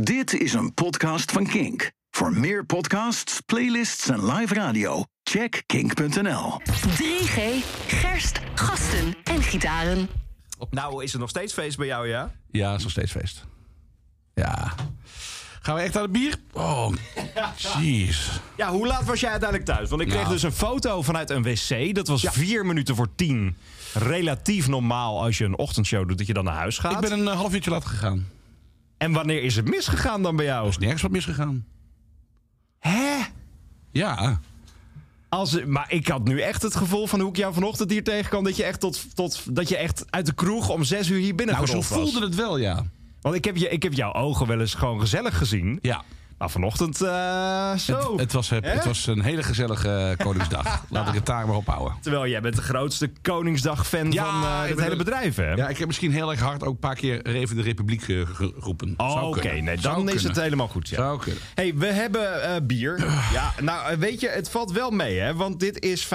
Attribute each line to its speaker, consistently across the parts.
Speaker 1: Dit is een podcast van Kink. Voor meer podcasts, playlists en live radio, check kink.nl.
Speaker 2: 3G, gerst, gasten en gitaren.
Speaker 3: Nou, is het nog steeds feest bij jou, ja?
Speaker 4: Ja, is nog steeds feest. Ja. Gaan we echt aan het bier? Oh, jeez.
Speaker 3: Ja, hoe laat was jij uiteindelijk thuis? Want ik kreeg
Speaker 4: Nou.
Speaker 3: dus een foto vanuit een wc. Dat was vier minuten voor tien. Relatief normaal als je een ochtendshow doet dat je dan naar huis gaat.
Speaker 4: Ik ben een eh, half uurtje laat gegaan.
Speaker 3: En wanneer is het misgegaan dan bij jou?
Speaker 4: Er is nergens wat misgegaan.
Speaker 3: Hè?
Speaker 4: Ja.
Speaker 3: Als, maar ik had nu echt het gevoel van hoe ik jou vanochtend hier tegenkwam... dat je echt, tot, tot, dat je echt uit de kroeg om zes uur hier binnen
Speaker 4: Nou, zo
Speaker 3: gerold was.
Speaker 4: voelde het wel, ja.
Speaker 3: Want ik heb, je, ik heb jouw ogen wel eens gewoon gezellig gezien.
Speaker 4: Ja.
Speaker 3: Maar vanochtend, eh, zo.
Speaker 4: Het, het, was, eh,
Speaker 3: Hè?
Speaker 4: het was een hele gezellige eh, Koningsdag. Laat ik het daar maar op houden.
Speaker 3: Terwijl jij bent de grootste Koningsdag-fan
Speaker 4: Ja,
Speaker 3: van eh,
Speaker 4: ik
Speaker 3: het
Speaker 4: ben
Speaker 3: hele
Speaker 4: een-
Speaker 3: bedrijf, hè?
Speaker 4: Ja, ik heb misschien heel erg hard ook een paar keer even de Republiek eh, ge- geroepen.
Speaker 3: Oh,
Speaker 4: Zou
Speaker 3: oké.
Speaker 4: kunnen.
Speaker 3: Nee,
Speaker 4: Zou
Speaker 3: dan is het
Speaker 4: kunnen.
Speaker 3: helemaal goed. Ja.
Speaker 4: Zou kunnen.
Speaker 3: hey, we hebben eh, bier. Ja, nou, eh, weet je, het valt wel mee, hè? Want dit is 5,4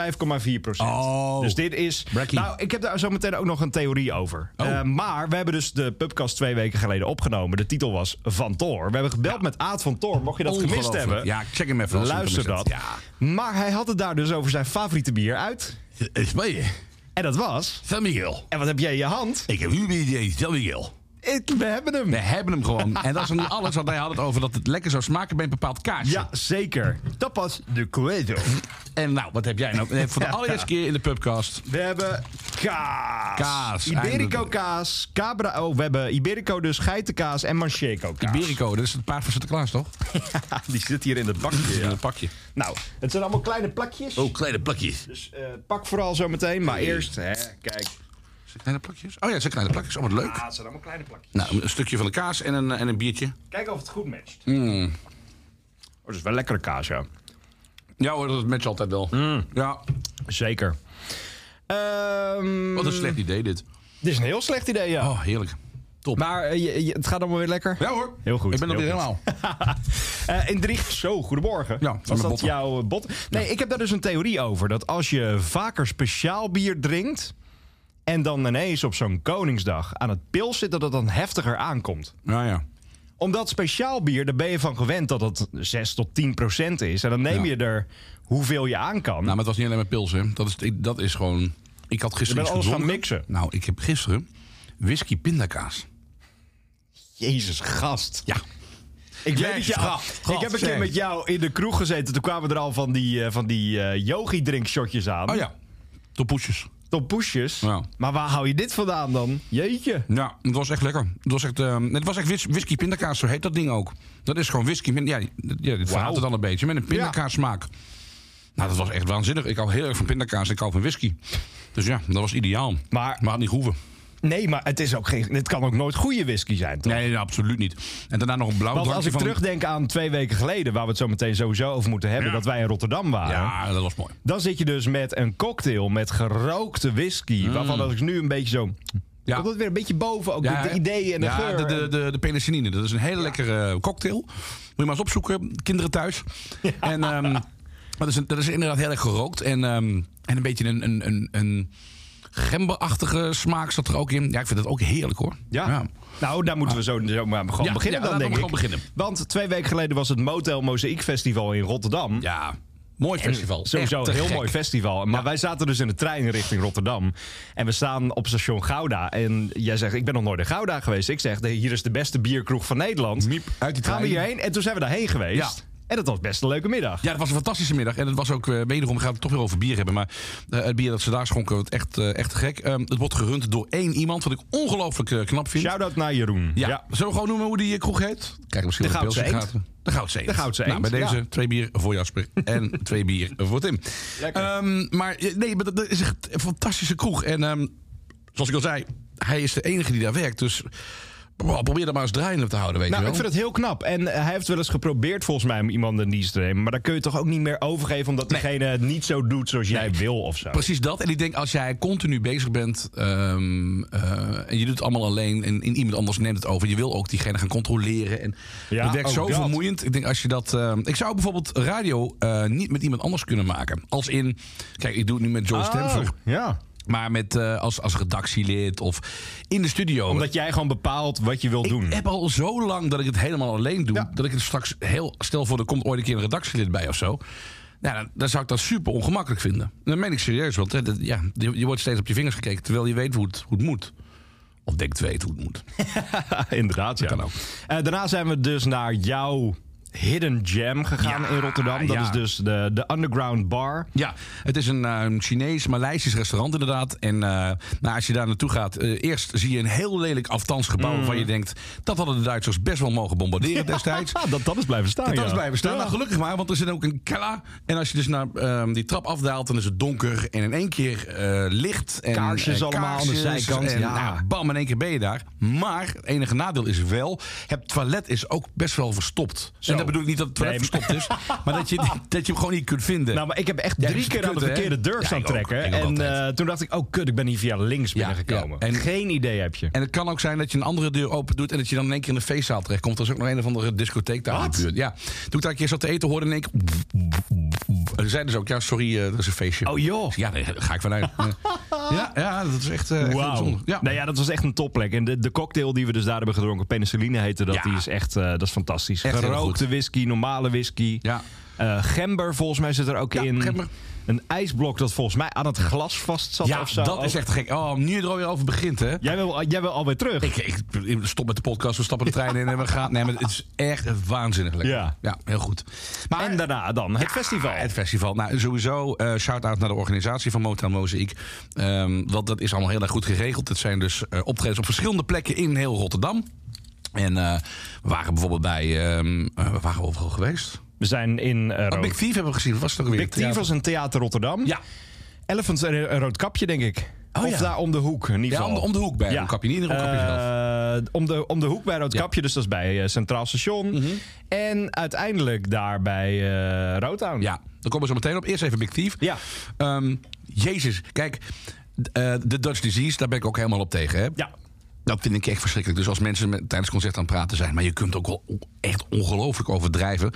Speaker 3: procent.
Speaker 4: Oh.
Speaker 3: Dus dit is...
Speaker 4: Brekkie.
Speaker 3: Nou, ik heb daar zo meteen ook nog een theorie over.
Speaker 4: Oh.
Speaker 3: Eh, maar we hebben dus de pubcast twee weken geleden opgenomen. De titel was Van Toor. We hebben gebeld met Aad van Toor. Mocht je dat gemist
Speaker 4: Ongelooflijk.
Speaker 3: hebben...
Speaker 4: Ja, check hem even. als je hem
Speaker 3: Luister
Speaker 4: gemist
Speaker 3: dat.
Speaker 4: hebt.
Speaker 3: Maar hij had het daar dus over zijn favoriete bier uit.
Speaker 4: Ja.
Speaker 3: eh,
Speaker 4: Spanje.
Speaker 3: En dat was...
Speaker 4: San Miguel.
Speaker 3: En wat heb jij in je hand?
Speaker 4: Ik heb nu idee. San Miguel.
Speaker 3: Ik- we hebben hem.
Speaker 4: We hebben hem gewoon. En dat is nog niet alles, want hij had het over dat het lekker zou smaken bij een bepaald kaasje.
Speaker 3: Ja, zeker. Dat was de Cueto.
Speaker 4: En nou, wat heb jij nou? Nee, Voor de allereerste keer in de pubcast.
Speaker 3: We hebben kaas.
Speaker 4: Kaas,
Speaker 3: Iberico
Speaker 4: eindelijk.
Speaker 3: kaas. Cabra. Oh, we hebben Iberico dus geitenkaas en Manchego kaas.
Speaker 4: Berico, dat is het paard van Sinterklaas, toch?
Speaker 3: Die zit hier in het bakje.
Speaker 4: In een pakje. Oh,
Speaker 3: Nou, het zijn allemaal kleine plakjes.
Speaker 4: kleine plakjes.
Speaker 3: Dus eh, pak vooral zo meteen. Maar eerst, hè, kijk.
Speaker 4: Kleine plakjes? Oh ja, het zijn kleine plakjes. Oh, wat leuk.
Speaker 3: Ah, het zijn allemaal kleine plakjes.
Speaker 4: Nou, een stukje van de kaas en een, en een biertje.
Speaker 3: Kijk of het goed matcht. Oh, dat is wel lekkere kaas, ja.
Speaker 4: Ja hoor, dat matcht altijd wel. Ja,
Speaker 3: Zeker. Ehm,
Speaker 4: wat een slecht idee dit.
Speaker 3: Dit is een heel slecht idee, ja.
Speaker 4: Oh, heerlijk. Top.
Speaker 3: Maar eh, je- je- het gaat allemaal weer lekker.
Speaker 4: ja hoor.
Speaker 3: Heel goed,
Speaker 4: Ik ben er
Speaker 3: heel
Speaker 4: weer
Speaker 3: goed.
Speaker 4: helemaal.
Speaker 3: Eh, in drie... Zo, goedemorgen.
Speaker 4: Ja, van
Speaker 3: Was
Speaker 4: mijn
Speaker 3: dat
Speaker 4: botten.
Speaker 3: jouw eh, bot? Nee, ik heb daar dus een theorie over. Dat als je vaker speciaal bier drinkt... en dan ineens op zo'n Koningsdag aan het pil zit... dat het dan heftiger aankomt.
Speaker 4: Nou ja.
Speaker 3: Omdat speciaal bier, daar ben je van gewend dat het 6 tot 10 procent is. En dan neem
Speaker 4: Ja.
Speaker 3: je er hoeveel je aan kan.
Speaker 4: Nou, maar het was niet alleen maar pils, hè. Dat is, ik- dat is gewoon... Ik had
Speaker 3: je
Speaker 4: gisteren
Speaker 3: bent
Speaker 4: iets
Speaker 3: alles gaan
Speaker 4: gedronken.
Speaker 3: mixen.
Speaker 4: Nou, ik heb gisteren whisky pindakaas.
Speaker 3: Jezus, gast.
Speaker 4: Ja.
Speaker 3: Ik, weet
Speaker 4: Jezus,
Speaker 3: dat je,
Speaker 4: God, God,
Speaker 3: ik heb een keer
Speaker 4: zeg.
Speaker 3: met jou in de kroeg gezeten. Toen kwamen er al van die, eh, van die eh yogi-drinkshotjes aan.
Speaker 4: Oh ja. Topoesjes.
Speaker 3: Tot poesjes.
Speaker 4: Ja.
Speaker 3: Maar waar hou je dit vandaan dan? Jeetje.
Speaker 4: Ja, het was echt lekker. Het was echt, ehm, het was echt whis- whisky pindakaas, zo heet dat ding ook. Dat is gewoon whisky. pin- Ja, d- ja dit verhaalt het dan een beetje. Met een pindakaas smaak. Nou, dat was echt waanzinnig. Ik hou heel erg van pindakaas en ik hou van whisky. Dus ja, dat was ideaal.
Speaker 3: Maar-
Speaker 4: maar had niet hoeven.
Speaker 3: Nee, maar het, is ook geen, het kan ook nooit goede whisky zijn, toch?
Speaker 4: Nee, nee, absoluut niet. En daarna nog een blauw
Speaker 3: Want
Speaker 4: drankje
Speaker 3: als ik
Speaker 4: van...
Speaker 3: terugdenk aan twee weken geleden... waar we het zo meteen sowieso over moeten hebben...
Speaker 4: Ja.
Speaker 3: dat wij in Rotterdam waren...
Speaker 4: Ja, dat was mooi.
Speaker 3: dan zit je dus met een cocktail met gerookte whisky... waarvan als ik nu een beetje zo...
Speaker 4: Mm. Ja.
Speaker 3: komt het weer een beetje boven, ook
Speaker 4: Ja,
Speaker 3: het
Speaker 4: hè?
Speaker 3: idee en de
Speaker 4: ja,
Speaker 3: geur.
Speaker 4: De, de, de, de penicilline, dat is een hele lekkere cocktail. Moet je maar eens opzoeken, kinderen thuis. En ehm, dat, is, een- dat is inderdaad heel erg gerookt. En, ehm, en een beetje een, een, een, een gemberachtige smaak zat er ook in. Ja, ik vind dat ook heerlijk hoor.
Speaker 3: Ja. Nou, daar moeten we zo, zo maar gewoon
Speaker 4: Ja,
Speaker 3: beginnen
Speaker 4: ja,
Speaker 3: dan,
Speaker 4: laten
Speaker 3: denk
Speaker 4: we
Speaker 3: ik.
Speaker 4: gewoon beginnen.
Speaker 3: Want twee weken geleden was het Motel Mozaïek Festival in Rotterdam.
Speaker 4: Ja, mooi festival.
Speaker 3: Sowieso
Speaker 4: Echt
Speaker 3: een
Speaker 4: te
Speaker 3: heel
Speaker 4: gek.
Speaker 3: mooi festival. Maar wij zaten dus in de trein richting Rotterdam. En we staan op station Gouda. En jij zegt, ik ben nog nooit in Gouda geweest. Ik zeg, hier is de beste bierkroeg van Nederland.
Speaker 4: Miep, uit die
Speaker 3: Gaan we
Speaker 4: trein.
Speaker 3: hierheen? En toen zijn we daarheen geweest.
Speaker 4: Ja.
Speaker 3: En dat was best een leuke middag.
Speaker 4: Ja, dat was een fantastische middag. En het was ook, eh, wederom gaan we het toch weer over bier hebben. Maar eh, het bier dat ze daar schonken, wat echt, eh, echt te gek. Ehm, het wordt gerund door één iemand, wat ik ongelooflijk eh, knap vind.
Speaker 3: Shout-out naar Jeroen.
Speaker 4: Ja. Zullen we gewoon noemen hoe die eh, kroeg heet? Kijk, misschien
Speaker 3: De
Speaker 4: wel
Speaker 3: Goudse
Speaker 4: pilsje
Speaker 3: Eend.
Speaker 4: gaat. De Goudse Eend.
Speaker 3: De Goudse
Speaker 4: Nou,
Speaker 3: Eend,
Speaker 4: bij deze
Speaker 3: ja.
Speaker 4: twee bier voor Jasper en twee bier voor Tim.
Speaker 3: Lekker.
Speaker 4: Ehm, maar eh, nee, maar dat, dat is echt een fantastische kroeg. En ehm, zoals ik al zei, hij is de enige die daar werkt. Dus wow, probeer daar maar eens draaiende op te houden, weet
Speaker 3: Nou,
Speaker 4: je
Speaker 3: ik
Speaker 4: wel.
Speaker 3: vind het heel knap. En eh, hij heeft wel eens geprobeerd volgens mij om iemand in dienst te nemen. Maar daar kun je toch ook niet meer overgeven... omdat diegene het niet zo doet zoals jij wil of zo.
Speaker 4: Precies dat. En ik denk, als jij continu bezig bent ehm, eh, en je doet het allemaal alleen en, en iemand anders neemt het over, je wil ook diegene gaan controleren. En
Speaker 3: Ja,
Speaker 4: het werkt
Speaker 3: ook
Speaker 4: zo
Speaker 3: dat.
Speaker 4: vermoeiend. Ik denk, als je dat. ehm, ik zou bijvoorbeeld radio eh, niet met iemand anders kunnen maken. Als in, kijk, ik doe het nu met Joy
Speaker 3: Oh,
Speaker 4: Stemfer.
Speaker 3: ja.
Speaker 4: Maar met, eh, als, als redactielid of in de studio.
Speaker 3: Omdat jij gewoon bepaalt wat je wil
Speaker 4: ik
Speaker 3: doen.
Speaker 4: heb al zo lang dat ik het helemaal alleen doe.
Speaker 3: Ja.
Speaker 4: Dat ik het straks heel stel voor, er komt ooit een keer een redactielid bij of zo. Nou, dan, dan zou ik dat super ongemakkelijk vinden. Dat meen ik serieus, want hè, dat- ja, je, je wordt steeds op je vingers gekeken terwijl je weet hoe het, hoe het moet. Of denkt te weten hoe het moet.
Speaker 3: Inderdaad, ja.
Speaker 4: kan ook.
Speaker 3: Eh, daarna zijn we dus naar jouw Hidden Jam gegaan in Rotterdam. Dat
Speaker 4: ja.
Speaker 3: is dus de, de Underground Bar.
Speaker 4: Ja, het is een, eh, een Chinees-Maleisisch restaurant inderdaad. En eh, nou, als je daar naartoe gaat, eh, eerst zie je een heel lelijk aftans
Speaker 3: Mm.
Speaker 4: gebouw... waarvan je denkt, dat hadden de Duitsers best wel mogen bombarderen destijds.
Speaker 3: Ah, dat, dat is blijven staan.
Speaker 4: Dat
Speaker 3: ja.
Speaker 4: is blijven staan. Nou, gelukkig maar, want er zit ook een keller. En als je dus naar ehm, die trap afdaalt, dan is het donker. En in één keer eh, licht. En,
Speaker 3: Kaarsjes
Speaker 4: eh,
Speaker 3: allemaal aan de
Speaker 4: kaarsjes
Speaker 3: zijkant,
Speaker 4: En,
Speaker 3: ja.
Speaker 4: nou, bam, in één keer ben je daar. Maar het enige nadeel is wel, het toilet is ook best wel verstopt. En dat bedoel ik niet dat het toilet
Speaker 3: Nee, maar-
Speaker 4: verstopt is, maar dat je, dat je hem gewoon niet kunt vinden.
Speaker 3: Nou, maar ik heb echt
Speaker 4: Ja,
Speaker 3: drie
Speaker 4: dat is
Speaker 3: keer aan de
Speaker 4: kut, hè?
Speaker 3: verkeerde deur
Speaker 4: Ja,
Speaker 3: staan
Speaker 4: ik ook.
Speaker 3: trekken.
Speaker 4: Ik ook
Speaker 3: en
Speaker 4: altijd.
Speaker 3: eh, toen dacht ik, oh kut, ik ben hier via links
Speaker 4: Ja,
Speaker 3: binnengekomen.
Speaker 4: ja. En-
Speaker 3: Geen idee heb je.
Speaker 4: En het kan ook zijn dat je een andere deur open doet... en dat je dan in één keer in de feestzaal terechtkomt. Er is ook nog een of andere discotheek daar in
Speaker 3: Wat?
Speaker 4: de buurt. Ja. Toen ik daar een keer zat te eten, hoorde in één keer... En zeiden ze ook, ja, sorry, eh, dat is een feestje.
Speaker 3: Oh, joh.
Speaker 4: Ja, daar ga ik vanuit. ja, ja, dat is echt, eh, echt heel
Speaker 3: Wauw.
Speaker 4: bijzonder. Ja.
Speaker 3: Nou ja, dat was echt een topplek. En de, de cocktail die we dus daar hebben gedronken, penicilline heette dat,
Speaker 4: Ja.
Speaker 3: die is echt, eh, dat is fantastisch.
Speaker 4: Echt heel
Speaker 3: Gerookte whisky, normale whisky.
Speaker 4: Ja.
Speaker 3: Eh, gember volgens mij zit er ook
Speaker 4: Ja,
Speaker 3: in.
Speaker 4: gember.
Speaker 3: Een ijsblok dat volgens mij aan het glas vast zat
Speaker 4: Ja,
Speaker 3: of zo.
Speaker 4: dat
Speaker 3: ook.
Speaker 4: is echt gek. Oh, nu je er alweer over begint, hè.
Speaker 3: Jij wil, jij wil alweer terug.
Speaker 4: Ik, ik stop met de podcast, we stappen de trein in en we gaan... Nee, maar het is echt waanzinnig lekker.
Speaker 3: Ja.
Speaker 4: heel goed. Maar,
Speaker 3: en daarna dan, het festival.
Speaker 4: Het festival. Nou, sowieso eh shout-out naar de organisatie van Motown Mosaic. Ehm, want dat is allemaal heel erg goed geregeld. Het zijn dus eh, optredens op verschillende plekken in heel Rotterdam. En eh, we waren bijvoorbeeld bij... ehm eh, waar waren we overal geweest?
Speaker 3: We zijn in eh
Speaker 4: Oh,
Speaker 3: Rood-
Speaker 4: Big Thief hebben we gezien. Wat was het ook weer?
Speaker 3: Big Thief was een theater Rotterdam.
Speaker 4: Ja.
Speaker 3: Elephant en een rood kapje, denk ik.
Speaker 4: Oh,
Speaker 3: of
Speaker 4: ja.
Speaker 3: daar om de hoek. In ieder
Speaker 4: Ja,
Speaker 3: geval.
Speaker 4: om de- om de hoek bij Roodkapje, niet in Roodkapje
Speaker 3: Eh, Om de, om de hoek bij Roodkapje, dus dat is bij eh, Centraal Station.
Speaker 4: Mhm.
Speaker 3: En uiteindelijk daar bij eh Roodtown.
Speaker 4: Ja, daar komen we zo meteen op. Eerst even Big Thief.
Speaker 3: Ja.
Speaker 4: Ehm, Jezus, kijk... d- eh, De Dutch Disease, daar ben ik ook helemaal op tegen. Hè?
Speaker 3: Ja.
Speaker 4: Dat vind ik echt verschrikkelijk. Dus als mensen met, tijdens het concert aan het praten zijn... maar je kunt ook wel o- echt ongelooflijk overdrijven.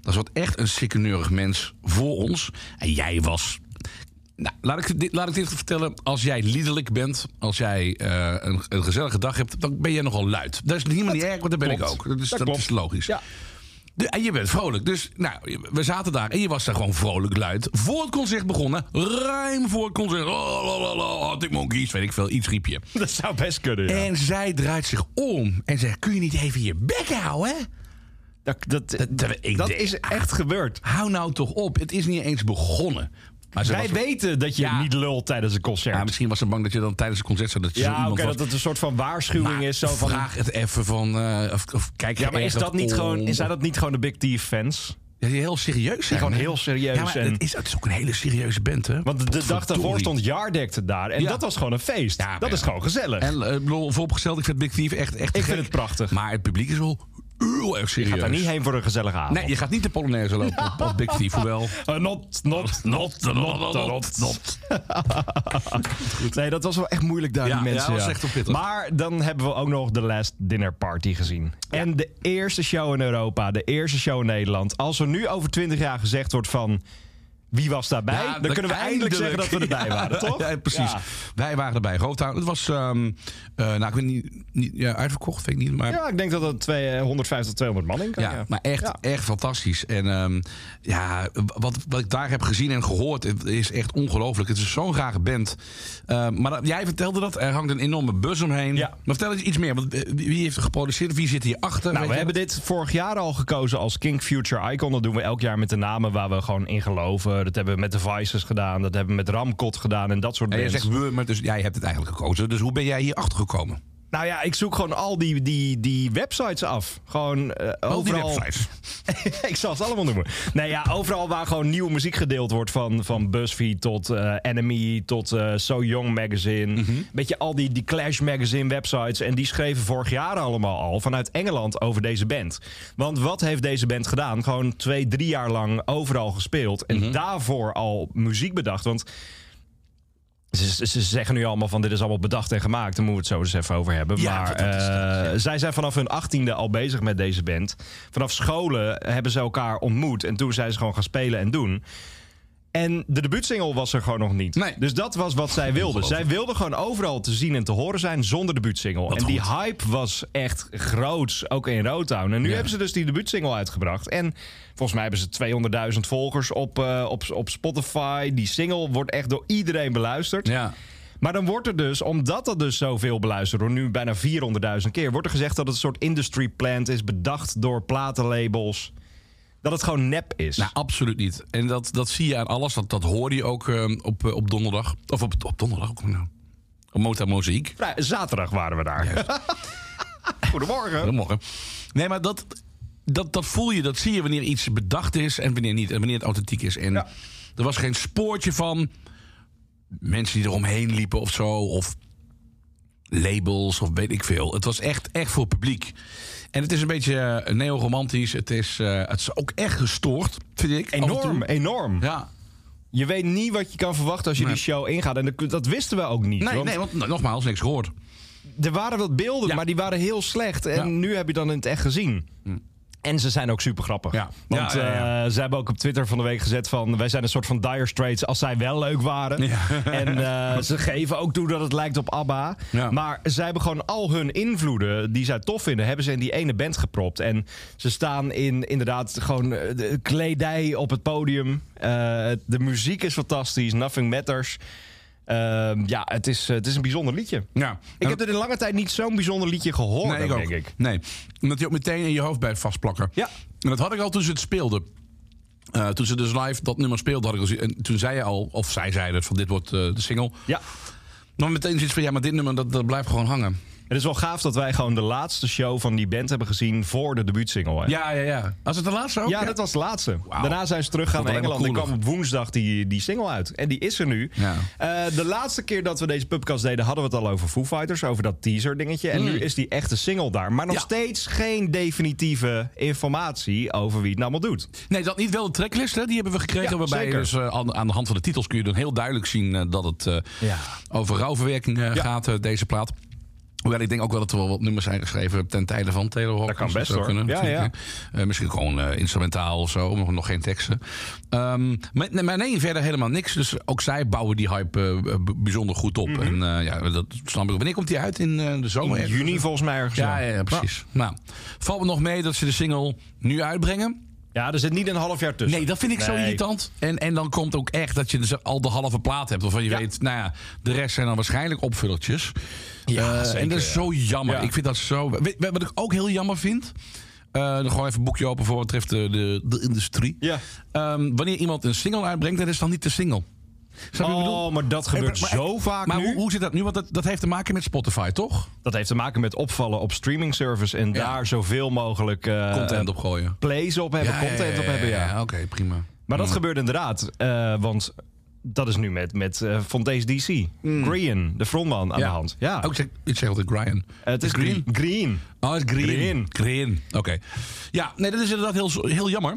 Speaker 4: Dan zat echt een sikkeneurig mens voor ons. En jij was... Nou, laat ik, dit, laat ik dit vertellen. Als jij liederlijk bent, als jij eh, een, een gezellige dag hebt... dan ben jij nogal luid. Dat is helemaal niet erg, want dat ben
Speaker 3: klopt.
Speaker 4: ik ook. Dat is,
Speaker 3: Dat
Speaker 4: dat
Speaker 3: klopt.
Speaker 4: is logisch.
Speaker 3: Ja.
Speaker 4: De- en je bent vrolijk. Dus nou, we zaten daar en je was daar gewoon vrolijk luid. Voor het concert begonnen, ruim voor het concert. Oh, la, la, la, Arctic Monkeys, weet ik veel, iets riep je.
Speaker 3: Dat zou best kunnen, ja.
Speaker 4: En zij draait zich om en zegt: Kun je niet even je bek houden? hè?
Speaker 3: dat dat,
Speaker 4: dat- ik
Speaker 3: dat
Speaker 4: denk-
Speaker 3: is echt gebeurd.
Speaker 4: Hou nou toch op, het is niet eens begonnen. Maar ze
Speaker 3: Wij
Speaker 4: was-
Speaker 3: weten dat je
Speaker 4: Ja.
Speaker 3: niet lult tijdens een concert.
Speaker 4: Ja,
Speaker 3: Ja,
Speaker 4: misschien was ze bang dat je dan tijdens het concert zat dat je zo
Speaker 3: oké,
Speaker 4: iemand was.
Speaker 3: dat het een soort van waarschuwing
Speaker 4: Maar
Speaker 3: is. Zo van,
Speaker 4: vraag het even van. eh, of, of kijk
Speaker 3: ja, maar is
Speaker 4: ergens
Speaker 3: dat niet
Speaker 4: om.
Speaker 3: gewoon, zijn dat niet gewoon de Big Thief fans?
Speaker 4: Ja, die heel serieus zijn.
Speaker 3: gewoon
Speaker 4: hè?
Speaker 3: heel serieus
Speaker 4: Ja, maar
Speaker 3: en-
Speaker 4: het, is, het is ook een hele serieuze band, hè?
Speaker 3: Want de- de dag daarvoor
Speaker 4: Potverdorie.
Speaker 3: stond Yardek daar. En
Speaker 4: Ja.
Speaker 3: dat was gewoon een feest.
Speaker 4: Ja,
Speaker 3: dat
Speaker 4: ja.
Speaker 3: is gewoon gezellig.
Speaker 4: En eh, ik bedoel, vooropgesteld, ik vind Big Thief echt, echt
Speaker 3: Ik
Speaker 4: gek.
Speaker 3: vind het prachtig.
Speaker 4: Maar het publiek is wel heel erg serieus.
Speaker 3: Gaat daar niet heen voor een gezellige avond.
Speaker 4: Nee, je gaat niet de Polonaise lopen op, op Big Thief, hoewel...
Speaker 3: Eh, not, not,
Speaker 4: Not, not, not,
Speaker 3: Nee, dat was wel echt moeilijk daar,
Speaker 4: Ja,
Speaker 3: die
Speaker 4: ja,
Speaker 3: mensen.
Speaker 4: dat was echt wel pittig.
Speaker 3: Maar dan hebben we ook nog de Last Dinner Party gezien. En de eerste show in Europa, de eerste show in Nederland. Als er nu over twintig jaar gezegd wordt van... Wie was daarbij?
Speaker 4: Ja,
Speaker 3: dan kunnen we eindelijk, zeggen dat we erbij
Speaker 4: Ja,
Speaker 3: waren, toch?
Speaker 4: Ja, precies.
Speaker 3: Ja.
Speaker 4: Wij waren erbij. Roodtown. Het was, ehm, eh, nou, ik weet niet, niet ja, uitverkocht, weet ik niet, maar...
Speaker 3: Ja, ik denk dat dat twee- eh, 150, 200 man in kan.
Speaker 4: Ja,
Speaker 3: ja.
Speaker 4: maar echt,
Speaker 3: Ja.
Speaker 4: echt fantastisch. En ehm, ja, wat, wat ik daar heb gezien en gehoord het is echt ongelooflijk. Het is zo'n rare band. Ehm, maar dat- jij vertelde dat, er hangt een enorme bus omheen.
Speaker 3: Ja.
Speaker 4: Maar vertel eens iets meer, want eh, wie heeft er geproduceerd? Wie zit hier achter?
Speaker 3: Nou, we hebben
Speaker 4: dit.
Speaker 3: dit vorig jaar al gekozen als King Future Icon. Dat doen we elk jaar met de namen waar we gewoon in geloven. Dat hebben we met The Vices gedaan. Dat hebben we met Ramkot gedaan en dat soort
Speaker 4: En je
Speaker 3: bands.
Speaker 4: zegt we, maar dus, jij hebt het eigenlijk gekozen. Dus hoe ben jij hier achter gekomen?
Speaker 3: Nou ja, ik zoek gewoon al die, die, die websites af. Gewoon eh,
Speaker 4: Al die
Speaker 3: overal.
Speaker 4: websites.
Speaker 3: ik zal ze allemaal noemen. Nee ja, overal waar gewoon nieuwe muziek gedeeld wordt. Van, van BuzzFeed tot eh, Enemy tot eh, So Young Magazine.
Speaker 4: Mhm.
Speaker 3: Beetje al die, die Clash Magazine websites. En die schreven vorig jaar allemaal al vanuit Engeland over deze band. Want wat heeft deze band gedaan? Gewoon twee, drie jaar lang overal gespeeld. En
Speaker 4: Mhm.
Speaker 3: daarvoor al muziek bedacht. Want ze, ze zeggen nu allemaal van dit is allemaal bedacht en gemaakt. Daar moeten we het zo eens even over hebben.
Speaker 4: Ja,
Speaker 3: maar
Speaker 4: dat is het,
Speaker 3: eh, zij zijn vanaf hun achttiende al bezig met deze band. Vanaf scholen hebben ze elkaar ontmoet. En toen zijn ze gewoon gaan spelen en doen. En de debuutsingle was er gewoon nog niet.
Speaker 4: Nee.
Speaker 3: Dus dat was wat zij wilden. Zij wilden gewoon overal te zien en te horen zijn zonder debuutsingle. En die hype was echt groots, ook in Rotown. En nu hebben ze dus die debuutsingle uitgebracht. En volgens mij hebben ze 200.000 volgers op, eh, op, op Spotify. Die single wordt echt door iedereen beluisterd.
Speaker 4: Ja.
Speaker 3: Maar dan wordt er dus, omdat dat dus zoveel beluisterd wordt, nu bijna 400.000 keer, wordt er gezegd dat het een soort industry plant is bedacht door platenlabels. Dat het gewoon nep is.
Speaker 4: Nou, absoluut niet. En dat, dat zie je aan alles. Dat, dat hoor je ook eh, op, eh, op donderdag. Of op, op donderdag ook. Nou. Op Mota Mozaïek.
Speaker 3: Vrij- Nou, Zaterdag waren we daar. Goedemorgen.
Speaker 4: Goedemorgen. Nee, maar dat, dat, dat voel je, dat zie je wanneer iets bedacht is en wanneer niet. En wanneer het authentiek is. En
Speaker 3: Ja.
Speaker 4: er was geen spoortje van mensen die eromheen liepen of zo. Of labels of weet ik veel. Het was echt, echt voor publiek. En het is een beetje eh, neoromantisch. Het is, eh, het is ook echt gestoord, vind ik. af en toe.
Speaker 3: Enorm, enorm.
Speaker 4: Ja.
Speaker 3: Je weet niet wat je kan verwachten als je
Speaker 4: Nee.
Speaker 3: die show ingaat. En dat, dat wisten we ook niet.
Speaker 4: Nee,
Speaker 3: want
Speaker 4: nee, want nou, nogmaals, niks gehoord.
Speaker 3: Er waren wat beelden,
Speaker 4: Ja.
Speaker 3: maar die waren heel slecht. En
Speaker 4: Ja. Hm.
Speaker 3: nu heb je dan in het echt gezien. En ze zijn ook super grappig.
Speaker 4: Ja.
Speaker 3: Want
Speaker 4: Ja, ja, ja.
Speaker 3: eh, ze hebben ook op Twitter van de week gezet van... wij zijn een soort van dire straits als zij wel leuk waren. En eh, ze geven ook toe dat het lijkt op ABBA.
Speaker 4: Ja.
Speaker 3: Maar zij hebben gewoon al hun invloeden die zij tof vinden... hebben ze in die ene band gepropt. En ze staan in inderdaad gewoon eh, de kledij op het podium. Eh, de muziek is fantastisch, Nothing Matters... Ehm, ja, het is, eh, het is een bijzonder liedje.
Speaker 4: Ja.
Speaker 3: Ik heb er in lange tijd niet zo'n bijzonder liedje gehoord,
Speaker 4: Nee, ik ook.
Speaker 3: denk ik.
Speaker 4: Nee, omdat je ook meteen in je hoofd blijft vastplakken.
Speaker 3: Ja.
Speaker 4: En dat had ik al toen ze het speelden. Eh, toen ze dus live dat nummer speelden, had ik al zoiets- en toen zei je al, of zij zeiden het, van dit wordt eh, de single.
Speaker 3: Ja.
Speaker 4: Dan meteen zoiets van, ja, maar dit nummer, dat, dat blijft gewoon hangen.
Speaker 3: Het is wel gaaf dat wij gewoon de laatste show van die band hebben gezien voor de debuutsingle. hè?
Speaker 4: Ja, ja, ja. Als het de laatste ook?
Speaker 3: Ja, dat was de laatste.
Speaker 4: Wauw.
Speaker 3: Daarna zijn ze teruggegaan
Speaker 4: Dat
Speaker 3: naar
Speaker 4: wordt alleen
Speaker 3: Engeland.
Speaker 4: maar
Speaker 3: Er kwam op woensdag die, die single uit. En die is er nu.
Speaker 4: Ja.
Speaker 3: Eh, de laatste keer dat we deze pubcast deden, hadden we het al over Foo Fighters. Over dat teaser dingetje. En nu is die echte single daar. Maar nog
Speaker 4: Mm. Ja.
Speaker 3: steeds geen definitieve informatie over wie het nou allemaal doet.
Speaker 4: Nee, dat niet wel de tracklist, hè, die hebben we gekregen.
Speaker 3: Ja,
Speaker 4: waarbij
Speaker 3: zeker.
Speaker 4: dus eh, aan, aan de hand van de titels kun je dan heel duidelijk zien eh, dat het eh,
Speaker 3: Ja.
Speaker 4: over rouwverwerking eh,
Speaker 3: Ja.
Speaker 4: gaat, eh, deze plaat. Hoewel ik denk ook wel dat er wel wat nummers zijn geschreven ten tijde van Taylor Hawkins.
Speaker 3: kan best,
Speaker 4: zou
Speaker 3: hoor. Ja,
Speaker 4: natuurlijk,
Speaker 3: ja.
Speaker 4: hè. Eh, misschien gewoon eh, instrumentaal of zo, nog, nog geen teksten. Ehm, maar, nee, maar nee, verder helemaal niks. Dus ook zij bouwen die hype eh, b- bijzonder goed op. En eh, ja, dat snap ik. Wanneer komt die uit? In eh, de zomer?
Speaker 3: Mhm. In
Speaker 4: ergens?
Speaker 3: juni volgens mij ergens.
Speaker 4: Ja,
Speaker 3: wel.
Speaker 4: ja, ja, precies. Nou, valt me nog mee dat ze de single nu uitbrengen.
Speaker 3: Ja, er zit niet een half jaar tussen.
Speaker 4: Nee, dat vind ik zo
Speaker 3: Dus Nee.
Speaker 4: irritant. En, en dan komt ook echt dat je dus al de halve plaat hebt. Waarvan je
Speaker 3: Ja.
Speaker 4: weet, nou ja, de rest zijn dan waarschijnlijk opvullertjes. Eh,
Speaker 3: zeker,
Speaker 4: en dat is
Speaker 3: ja.
Speaker 4: zo jammer.
Speaker 3: Ja.
Speaker 4: Ik vind dat zo... Weet- weet- wat ik ook heel jammer vind... eh, dan gewoon even een boekje open voor wat betreft de, de, de industrie.
Speaker 3: Ja.
Speaker 4: Ehm, wanneer iemand een single uitbrengt, dat is dan niet de single. Snap je wat ik bedoel?
Speaker 3: Oh, maar dat gebeurt
Speaker 4: Maar- maar-
Speaker 3: zo vaak
Speaker 4: Maar
Speaker 3: nu.
Speaker 4: Hoe, hoe zit dat nu? Want dat, dat heeft te maken met Spotify, toch?
Speaker 3: Dat heeft te maken met opvallen op streaming service en daar zoveel mogelijk eh,
Speaker 4: Content opgooien.
Speaker 3: plays op hebben, content op hebben. Ja.
Speaker 4: Oké, prima. Mm.
Speaker 3: Maar dat gebeurt inderdaad, eh, want dat is nu met, met eh Fontaine's DC. Green, de frontman aan de hand. Ja,
Speaker 4: Hmm.
Speaker 3: Eh,
Speaker 4: Ook zeg, Oh, ik zeg altijd Ryan.
Speaker 3: het is Green. Green.
Speaker 4: Oh, het is green.
Speaker 3: Green.
Speaker 4: Green. Oké. Ja, nee, dat is inderdaad heel, heel jammer.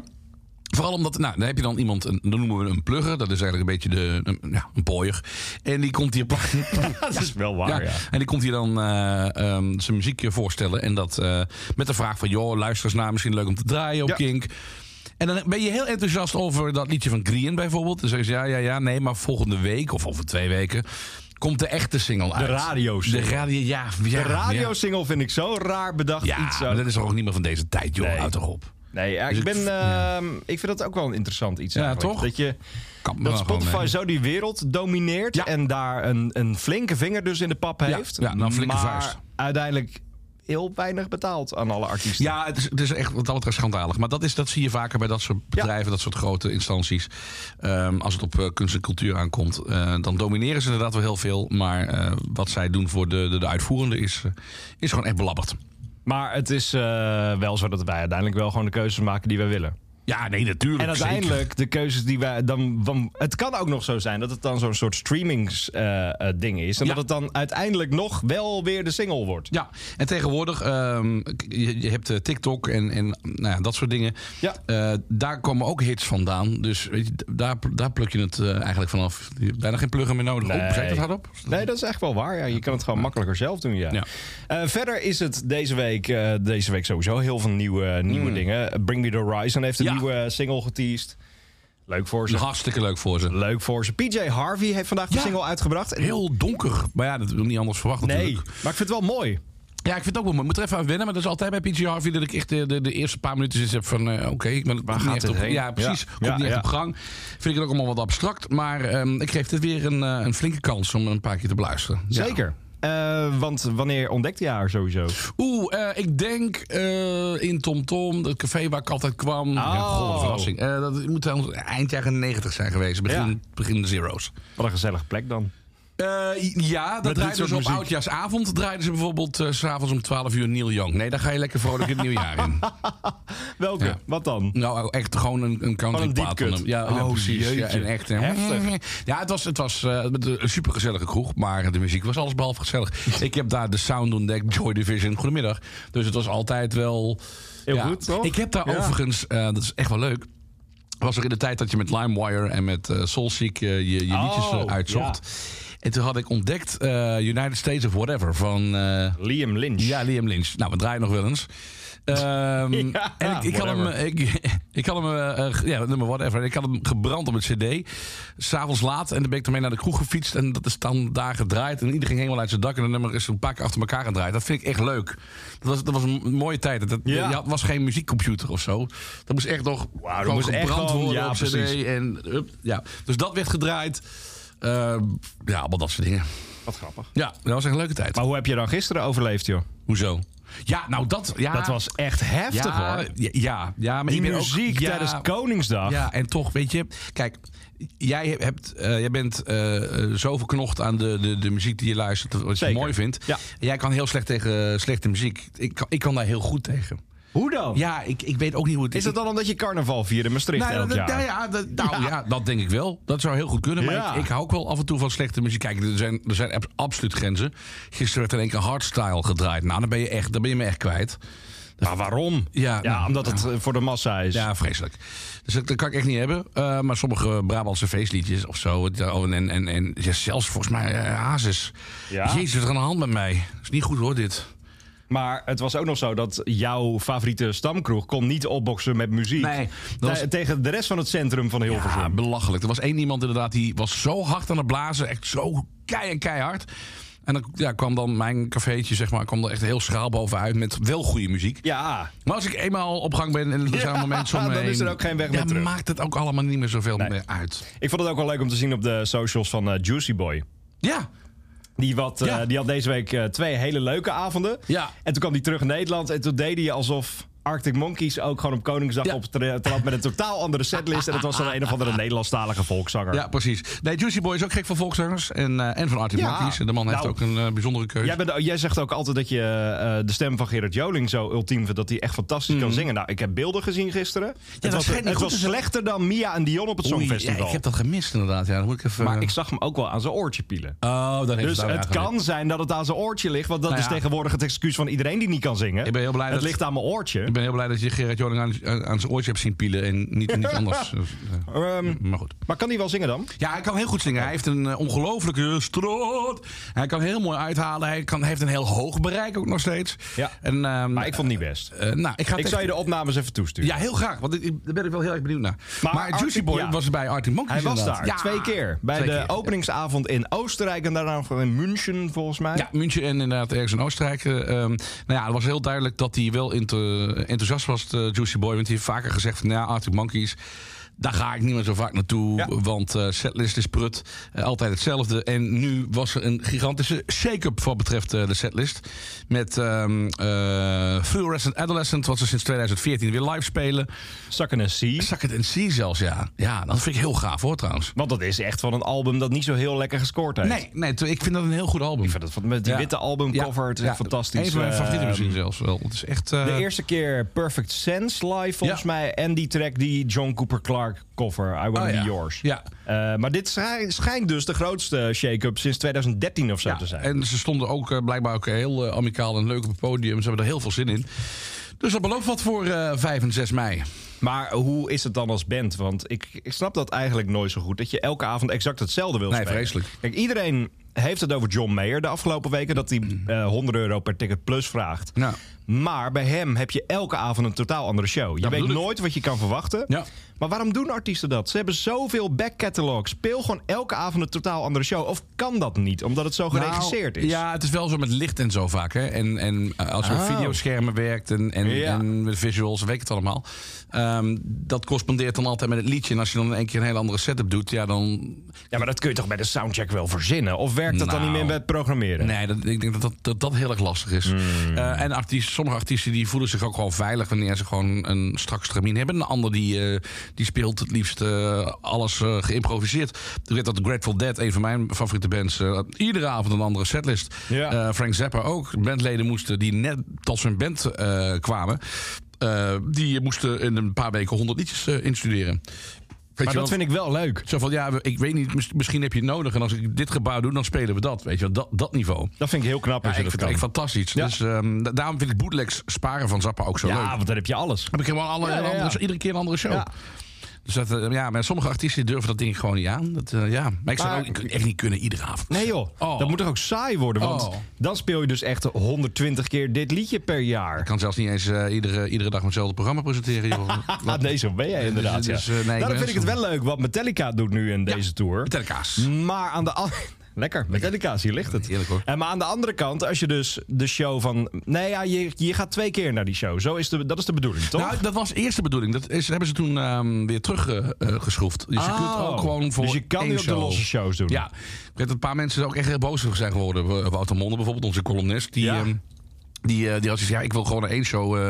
Speaker 4: Vooral omdat, nou, dan heb je dan iemand, een, dan noemen we een plugger. Dat is eigenlijk een beetje de, een, ja, een pooier. En die komt hier...
Speaker 3: Dat is wel waar,
Speaker 4: Ja,
Speaker 3: ja.
Speaker 4: En die komt hier dan eh, ehm, zijn muziek voorstellen. En dat eh, met de vraag van, joh, luister eens naar, misschien leuk om te draaien op
Speaker 3: Ja.
Speaker 4: Kink. En dan ben je heel enthousiast over dat liedje van Green bijvoorbeeld. Dan zeggen ze, ja, ja, ja, nee, maar volgende week of over twee weken... komt de echte single uit.
Speaker 3: radiosingle.
Speaker 4: De radio, ja. ja,
Speaker 3: De radiosingle vind ik zo raar bedacht
Speaker 4: ja,
Speaker 3: iets.
Speaker 4: maar
Speaker 3: Zo.
Speaker 4: dat is toch ook niet meer van deze tijd, joh.
Speaker 3: Nee.
Speaker 4: Houd toch op.
Speaker 3: Nee, ja,
Speaker 4: Dus
Speaker 3: ik, ben,
Speaker 4: het-
Speaker 3: eh,
Speaker 4: ja.
Speaker 3: ik vind dat ook wel een interessant iets.
Speaker 4: Ja,
Speaker 3: eigenlijk.
Speaker 4: toch?
Speaker 3: Dat je...
Speaker 4: Kap me
Speaker 3: Dat
Speaker 4: dan gewoon
Speaker 3: Spotify
Speaker 4: mee.
Speaker 3: zo die wereld domineert
Speaker 4: Ja.
Speaker 3: en daar een, een flinke vinger dus in de pap heeft.
Speaker 4: ja, nou, een flinke
Speaker 3: maar
Speaker 4: vuist.
Speaker 3: uiteindelijk heel weinig betaald aan alle artiesten.
Speaker 4: Ja, het is, het is echt wat dat betreft schandalig. Maar dat, is, dat zie je vaker bij dat soort bedrijven, dat soort grote instanties. Ehm, als het op eh, kunst en cultuur aankomt, eh, dan domineren ze inderdaad wel heel veel. Maar eh, wat zij doen voor de, de, de uitvoerende is, eh, is gewoon echt belabberd.
Speaker 3: Maar het is eh, wel zo dat wij uiteindelijk wel gewoon de keuzes maken die wij willen.
Speaker 4: Ja, nee, natuurlijk.
Speaker 3: En
Speaker 4: zeker.
Speaker 3: uiteindelijk de keuzes die wij dan. dan- het kan ook nog zo zijn dat het dan zo'n soort streamingsding is. En
Speaker 4: Ja.
Speaker 3: dat het dan uiteindelijk nog wel weer de single wordt.
Speaker 4: Ja, en tegenwoordig, ehm, k- je, je hebt eh, TikTok en, en nou ja, dat soort dingen.
Speaker 3: Ja.
Speaker 4: Eh, daar komen ook hits vandaan. Dus weet je, d- daar, daar pluk je het eh, eigenlijk vanaf. Je hebt bijna geen plugger meer nodig.
Speaker 3: Nee.
Speaker 4: Oh, zeg ik dat hardop?
Speaker 3: Nee, dat is echt wel waar. Ja. Je kan het gewoon makkelijker zelf doen, ja.
Speaker 4: Ja.
Speaker 3: Eh, verder is het deze week, eh, deze week sowieso heel veel nieuwe, nieuwe dingen. Bring Me The Horizon heeft een
Speaker 4: Mm. Ja.
Speaker 3: nieuwe single geteased. Leuk voor
Speaker 4: Is
Speaker 3: ze.
Speaker 4: hartstikke leuk voor ze.
Speaker 3: Leuk voor ze. PJ Harvey heeft vandaag de
Speaker 4: Ja.
Speaker 3: single uitgebracht.
Speaker 4: Heel donker. Maar ja, dat wil ik niet anders verwachten
Speaker 3: Nee,
Speaker 4: natuurlijk.
Speaker 3: maar ik vind het wel mooi.
Speaker 4: Ja, ik vind het ook wel mooi. Ik moet er even aan wennen. Maar dat is altijd bij PG Harvey dat ik echt de, de, de eerste paar minuten zit van... eh, Oké, ik ben Waar
Speaker 3: gaat
Speaker 4: niet echt
Speaker 3: dit
Speaker 4: op,
Speaker 3: heen?
Speaker 4: Ja, precies.
Speaker 3: Ja.
Speaker 4: Komt
Speaker 3: Ja,
Speaker 4: niet echt
Speaker 3: ja.
Speaker 4: op gang. Vind ik het ook allemaal wat abstract. Maar ehm, ik geef dit weer een, eh, een flinke kans om een paar keer te beluisteren. Ja.
Speaker 3: Zeker. Eh, want wanneer ontdekte je haar sowieso?
Speaker 4: Oeh, eh, ik denk eh, in TomTom, Tom, dat café waar ik altijd kwam. Ja, goh, wat een verrassing. Eh, dat moet dan eind jaren 90 zijn geweest. Begin,
Speaker 3: Ja.
Speaker 4: begin de zero's.
Speaker 3: Wat een gezellige plek dan.
Speaker 4: Eh, ja, dat
Speaker 3: dit
Speaker 4: draaiden
Speaker 3: soort
Speaker 4: ze op
Speaker 3: muziek.
Speaker 4: oudjaarsavond. Draaiden ze bijvoorbeeld eh, s s'avonds om 12 uur Neil Young. Nee, daar ga je lekker vrolijk het nieuwjaar in.
Speaker 3: Welke?
Speaker 4: Ja.
Speaker 3: Wat dan?
Speaker 4: Nou, echt gewoon een, een country
Speaker 3: Gewoon een
Speaker 4: plaat.
Speaker 3: deep cut.
Speaker 4: van hem. Ja, ja,
Speaker 3: Oh,
Speaker 4: precies. Ja,
Speaker 3: jeetje.
Speaker 4: en echt, hè.
Speaker 3: Heftig.
Speaker 4: Ja, het was, het was eh, met een supergezellige kroeg, maar de muziek was allesbehalve gezellig. ik heb daar de sound ontdekt, Joy Division, goedemiddag. Dus het was altijd wel...
Speaker 3: Heel goed, toch?
Speaker 4: Ik heb daar
Speaker 3: Ja.
Speaker 4: overigens, eh, dat is echt wel leuk... Was er in de tijd dat je met LimeWire en met eh Soulseek eh, je, je
Speaker 3: Oh,
Speaker 4: liedjes eh, uitzocht. En toen had ik ontdekt eh, United States of Whatever van... eh,
Speaker 3: Liam Lynch.
Speaker 4: ja, Liam Lynch. Nou, we draaien nog wel eens. Ehm, en ik, ik had hem,
Speaker 3: whatever.
Speaker 4: ik, ik had hem eh, eh, ge- ja, nummer whatever. En Ik had hem gebrand op het cd. S'avonds laat. En dan ben ik ermee naar de kroeg gefietst. En dat is dan daar gedraaid. En iedereen ging helemaal uit zijn dak. En dat nummer is een paar keer achter elkaar gedraaid. Dat vind ik echt leuk. Dat was, dat was een mooie tijd. Dat,
Speaker 3: Ja.
Speaker 4: Je had, was geen muziekcomputer of zo. Dat moest echt nog gewoon
Speaker 3: moest echt
Speaker 4: gebrand
Speaker 3: gewoon-
Speaker 4: worden
Speaker 3: ja,
Speaker 4: op cd.
Speaker 3: precies.
Speaker 4: En, hup, ja. Dus dat werd gedraaid. Ehm, ja, allemaal dat soort dingen.
Speaker 3: Wat grappig.
Speaker 4: Ja, dat was echt een leuke tijd.
Speaker 3: Maar hoe heb je dan gisteren overleefd, joh?
Speaker 4: Hoezo? Ja, nou dat... Ja,
Speaker 3: Dat was echt heftig,
Speaker 4: ja,
Speaker 3: hoor.
Speaker 4: Ja, ja, ja, maar
Speaker 3: Die
Speaker 4: ik ben ook-
Speaker 3: muziek
Speaker 4: ja,
Speaker 3: tijdens Koningsdag.
Speaker 4: Ja, en toch, weet je, kijk, jij, hebt, eh, jij bent eh, eh, zo verknocht aan de, de, de muziek die je luistert, wat je
Speaker 3: Zeker.
Speaker 4: mooi vindt.
Speaker 3: Ja.
Speaker 4: Jij kan heel slecht tegen eh, slechte muziek. Ik kan, ik kan daar heel goed tegen.
Speaker 3: Hoe dan?
Speaker 4: Ja, ik, ik weet ook niet hoe het
Speaker 3: Is dat dan omdat je carnaval viert in Maastricht
Speaker 4: nou,
Speaker 3: elk
Speaker 4: dat-
Speaker 3: jaar?
Speaker 4: nou ja, dat, nou ja. dat denk ik wel. Dat zou heel goed kunnen. Maar
Speaker 3: Ja.
Speaker 4: ik, ik hou ook wel af en toe van slechte muziek. Kijk, er zijn, er zijn ab- absoluut grenzen. Gisteren werd in één keer hardstyle gedraaid. Nou, dan ben je, echt, dan ben je me echt kwijt.
Speaker 3: Maar waarom?
Speaker 4: Ja, nou,
Speaker 3: omdat het eh, voor de massa is.
Speaker 4: Ja, vreselijk. Dus dat, dat kan ik echt niet hebben. Eh, maar sommige Brabantse feestliedjes of zo. het- oh, en en, en ja, zelfs volgens mij eh, Hazes.
Speaker 3: Ja.
Speaker 4: Jezus, wat is er aan de hand met mij? is niet goed hoor, dit.
Speaker 3: Maar het was ook nog zo dat jouw favoriete stamkroeg kon niet opboksen met muziek.
Speaker 4: Nee, dat
Speaker 3: Te-
Speaker 4: was-
Speaker 3: Tegen de rest van het centrum van Hilversum.
Speaker 4: Ja, belachelijk. Er was één iemand inderdaad, die was zo hard aan het blazen. Echt zo kei en keihard. En dan ja, kwam dan mijn cafeetje, zeg maar, kwam er echt heel schraal bovenuit met wel goede muziek.
Speaker 3: Ja,
Speaker 4: Maar als ik eenmaal op gang ben en er zijn
Speaker 3: Ja,
Speaker 4: momenten om
Speaker 3: dan
Speaker 4: me heen,
Speaker 3: is er ook geen weg
Speaker 4: ja,
Speaker 3: meer terug.
Speaker 4: maakt het ook allemaal niet meer zoveel meer uit.
Speaker 3: ik vond het ook wel leuk om te zien op de socials van eh, Juicy Boy.
Speaker 4: Ja,
Speaker 3: Die, wat, eh,
Speaker 4: Ja.
Speaker 3: die had deze week eh, twee hele leuke avonden.
Speaker 4: Ja.
Speaker 3: En toen kwam hij terug in Nederland en toen deed hij alsof Arctic Monkeys ook gewoon op Koningsdag
Speaker 4: Ja.
Speaker 3: optrad met een totaal andere setlist. En dat was dan een of andere Nederlandstalige volkszanger.
Speaker 4: Ja, precies. Nee, Juicy Boy is ook gek van volkszangers en, eh, en van Artie
Speaker 3: Ja.
Speaker 4: Monkeys. En de man heeft
Speaker 3: Nou.
Speaker 4: ook een eh, bijzondere keuze.
Speaker 3: Jij, bent- oh, jij zegt ook altijd dat je eh, de stem van Gerard Joling zo ultiem vindt. Dat hij echt fantastisch kan zingen. Nou, ik heb beelden gezien gisteren. het
Speaker 4: Mm. dat
Speaker 3: was,
Speaker 4: schijnt niet
Speaker 3: het
Speaker 4: goed
Speaker 3: was
Speaker 4: te zijn.
Speaker 3: slechter dan Mia en Dion op het
Speaker 4: Oei,
Speaker 3: Songfestival.
Speaker 4: ja, ik heb dat eh, gemist inderdaad. Ja, dan moet ik even...
Speaker 3: Maar ik zag hem ook wel aan zijn oortje pielen.
Speaker 4: Oh, dan heeft
Speaker 3: Dus
Speaker 4: daar weer
Speaker 3: het
Speaker 4: aan
Speaker 3: kan zijn dat het aan zijn oortje ligt. Want dat
Speaker 4: Nou
Speaker 3: is
Speaker 4: ja.
Speaker 3: tegenwoordig het excuus van iedereen die niet kan zingen.
Speaker 4: Ik ben heel blij
Speaker 3: het
Speaker 4: dat-
Speaker 3: ligt aan mijn oortje.
Speaker 4: Ik ben heel blij dat je Gerard Joling aan, aan- aan zijn oortje hebt zien pielen en niet, niet anders. Dus, eh,
Speaker 3: Ehm,
Speaker 4: maar goed.
Speaker 3: maar kan hij wel zingen dan?
Speaker 4: Ja, hij kan heel goed zingen. Hij heeft een eh, ongelofelijke strot. Hij kan heel mooi uithalen. Hij kan, heeft een heel hoog bereik ook nog steeds.
Speaker 3: Ja.
Speaker 4: En, ehm,
Speaker 3: Maar ik vond het niet best.
Speaker 4: eh, nou, ik ga het
Speaker 3: Ik zal je
Speaker 4: echt-
Speaker 3: de opnames even toesturen.
Speaker 4: Ja, heel graag. Want ik, ik- daar ben ik wel heel erg benieuwd naar. Maar,
Speaker 3: Maar
Speaker 4: Juicy
Speaker 3: Artie-
Speaker 4: Boy
Speaker 3: ja.
Speaker 4: was bij Artie Monkeys
Speaker 3: Hij was
Speaker 4: inderdaad.
Speaker 3: daar
Speaker 4: Ja.
Speaker 3: twee keer. Bij
Speaker 4: Twee
Speaker 3: de
Speaker 4: keer.
Speaker 3: openingsavond in Oostenrijk en daarna in München volgens mij.
Speaker 4: Ja, München en inderdaad ergens in Oostenrijk. eh, ehm, nou ja, het was heel duidelijk dat hij wel enth- enthousiast was, de Juicy Boy. Want hij heeft vaker gezegd van, nou ja, Arctic Monkeys... Daar ga ik niet meer zo vaak naartoe,
Speaker 3: Ja.
Speaker 4: want eh, setlist is prut. eh, altijd hetzelfde. En nu was er een gigantische shake-up wat betreft eh, de setlist. Met ehm eh, Fluorescent Adolescent, wat ze sinds 2014 weer live spelen.
Speaker 3: Zakken en C.
Speaker 4: Suck it and C zelfs, ja. Ja, dat vind ik heel gaaf hoor trouwens.
Speaker 3: Want dat is echt van een album dat niet zo heel lekker gescoord heeft.
Speaker 4: Nee, nee, t- ik vind dat een heel goed album.
Speaker 3: Ik vind het van- met die
Speaker 4: Ja.
Speaker 3: witte albumcover, het is
Speaker 4: Ja,
Speaker 3: fantastisch.
Speaker 4: Een van mijn
Speaker 3: Eh,
Speaker 4: favoriete misschien zelfs wel. Het is echt... eh,
Speaker 3: De eerste keer Perfect Sense live volgens
Speaker 4: Ja.
Speaker 3: mij. En die track, die John Cooper Clark cover, I Wanna
Speaker 4: Oh, ja.
Speaker 3: Be Yours.
Speaker 4: Ja.
Speaker 3: Eh, maar dit schij- schijnt dus de grootste shake-up sinds 2013 of zo te
Speaker 4: Ja,
Speaker 3: zijn.
Speaker 4: En ze stonden ook eh, blijkbaar ook heel eh, amicaal en leuk op het podium. Ze hebben er heel veel zin in. Dus dat belooft wat voor eh 5 en 6 mei.
Speaker 3: Maar hoe is het dan als band? Want ik, ik snap dat eigenlijk nooit zo goed. Dat je elke avond exact hetzelfde wil
Speaker 4: Nee,
Speaker 3: spelen.
Speaker 4: vreselijk.
Speaker 3: Kijk, iedereen heeft het over John Mayer de afgelopen weken. Dat hij eh 100 euro per ticket plus vraagt.
Speaker 4: Mhm. Ja.
Speaker 3: Maar bij hem heb je elke avond een totaal andere show. Je weet
Speaker 4: bedoel ik.
Speaker 3: nooit wat je kan verwachten.
Speaker 4: Ja.
Speaker 3: Maar waarom doen artiesten dat? Ze hebben zoveel backcatalog. Speel gewoon elke avond een totaal andere show. Of kan dat niet, omdat het zo geregisseerd
Speaker 4: Nou,
Speaker 3: is?
Speaker 4: Ja, het is wel zo met licht en zo vaak. Hè? En, en eh, als je
Speaker 3: Oh.
Speaker 4: op videoschermen werkt en, en,
Speaker 3: Ja.
Speaker 4: en met visuals, weet ik het allemaal. Ehm, dat correspondeert dan altijd met het liedje. En als je dan in één keer een hele andere setup doet, ja dan...
Speaker 3: Ja, maar dat kun je toch bij de soundcheck wel verzinnen? Of werkt dat dan
Speaker 4: Nou.
Speaker 3: niet meer bij het programmeren?
Speaker 4: Nee, dat, ik denk dat dat, dat dat heel erg lastig is. Eh, en artiesten, sommige artiesten die voelen zich ook gewoon veilig... wanneer ze gewoon een strak stramien hebben. Een ander die, eh, die speelt het liefst eh, alles eh, geïmproviseerd. Ik weet dat Grateful Dead, een van mijn favoriete bands... eh, had iedere avond een andere setlist.
Speaker 3: Ja.
Speaker 4: Eh, Frank Zappa ook. Bandleden moesten die net tot zijn band eh, kwamen... eh, die moesten in een paar weken honderd liedjes eh, instuderen. Weet
Speaker 3: maar
Speaker 4: je
Speaker 3: dat
Speaker 4: wel?
Speaker 3: vind ik wel leuk.
Speaker 4: Zo van, ja, we- ik weet niet, mis- misschien heb je het nodig. En als ik dit gebouw doe, dan spelen we dat. Weet je wel, dat, dat niveau.
Speaker 3: Dat vind ik heel knap als
Speaker 4: Ja,
Speaker 3: je
Speaker 4: ik
Speaker 3: dat
Speaker 4: vind
Speaker 3: kan.
Speaker 4: het echt fantastisch.
Speaker 3: Ja.
Speaker 4: Dus, ehm, da- daarom vind ik bootlegs sparen van Zappa ook zo
Speaker 3: ja,
Speaker 4: leuk.
Speaker 3: want dan heb je alles.
Speaker 4: Heb ik helemaal alle,
Speaker 3: Ja, ja, ja.
Speaker 4: andere- iedere keer een andere show.
Speaker 3: Ja.
Speaker 4: Dus dat, eh, ja, maar sommige artiesten durven dat ding gewoon niet aan. Dat, eh, ja. Maar ik zou
Speaker 3: Maar-
Speaker 4: het ook echt niet kunnen iedere avond.
Speaker 3: Nee joh,
Speaker 4: Oh.
Speaker 3: dat moet toch ook saai worden? Want
Speaker 4: Oh.
Speaker 3: dan speel je dus echt 120 keer dit liedje per jaar.
Speaker 4: Ik kan zelfs niet eens eh, iedere, iedere dag hetzelfde programma presenteren. Joh.
Speaker 3: Ah, nee, zo ben jij inderdaad.
Speaker 4: Dus- dus,
Speaker 3: ja.
Speaker 4: eh, nee, ik ben
Speaker 3: Daarom vind ik het wel leuk wat Metallica doet nu in deze tour.
Speaker 4: Vertel kaas.
Speaker 3: Maar aan de andere... Lekker, Metallica, hier ligt het.
Speaker 4: Heerlijk, hoor.
Speaker 3: En maar aan de andere kant, als je dus de show van... Nee ja, je, je gaat twee keer naar die show. Zo is de, dat is de bedoeling, toch?
Speaker 4: Nou, dat was eerst de bedoeling. Dat is, hebben ze toen ehm, weer teruggeschroefd. dus je kunt ook gewoon voor
Speaker 3: Oh. Dus je kan
Speaker 4: één
Speaker 3: nu ook de
Speaker 4: show.
Speaker 3: losse shows doen.
Speaker 4: Ja, ik weet dat een paar mensen er ook echt heel boos over zijn geworden. W- Wouter Monde bijvoorbeeld, onze columnist. Die,
Speaker 3: Ja.
Speaker 4: ehm, die, eh, die had zoiets van, ja, ik wil gewoon naar één show, eh,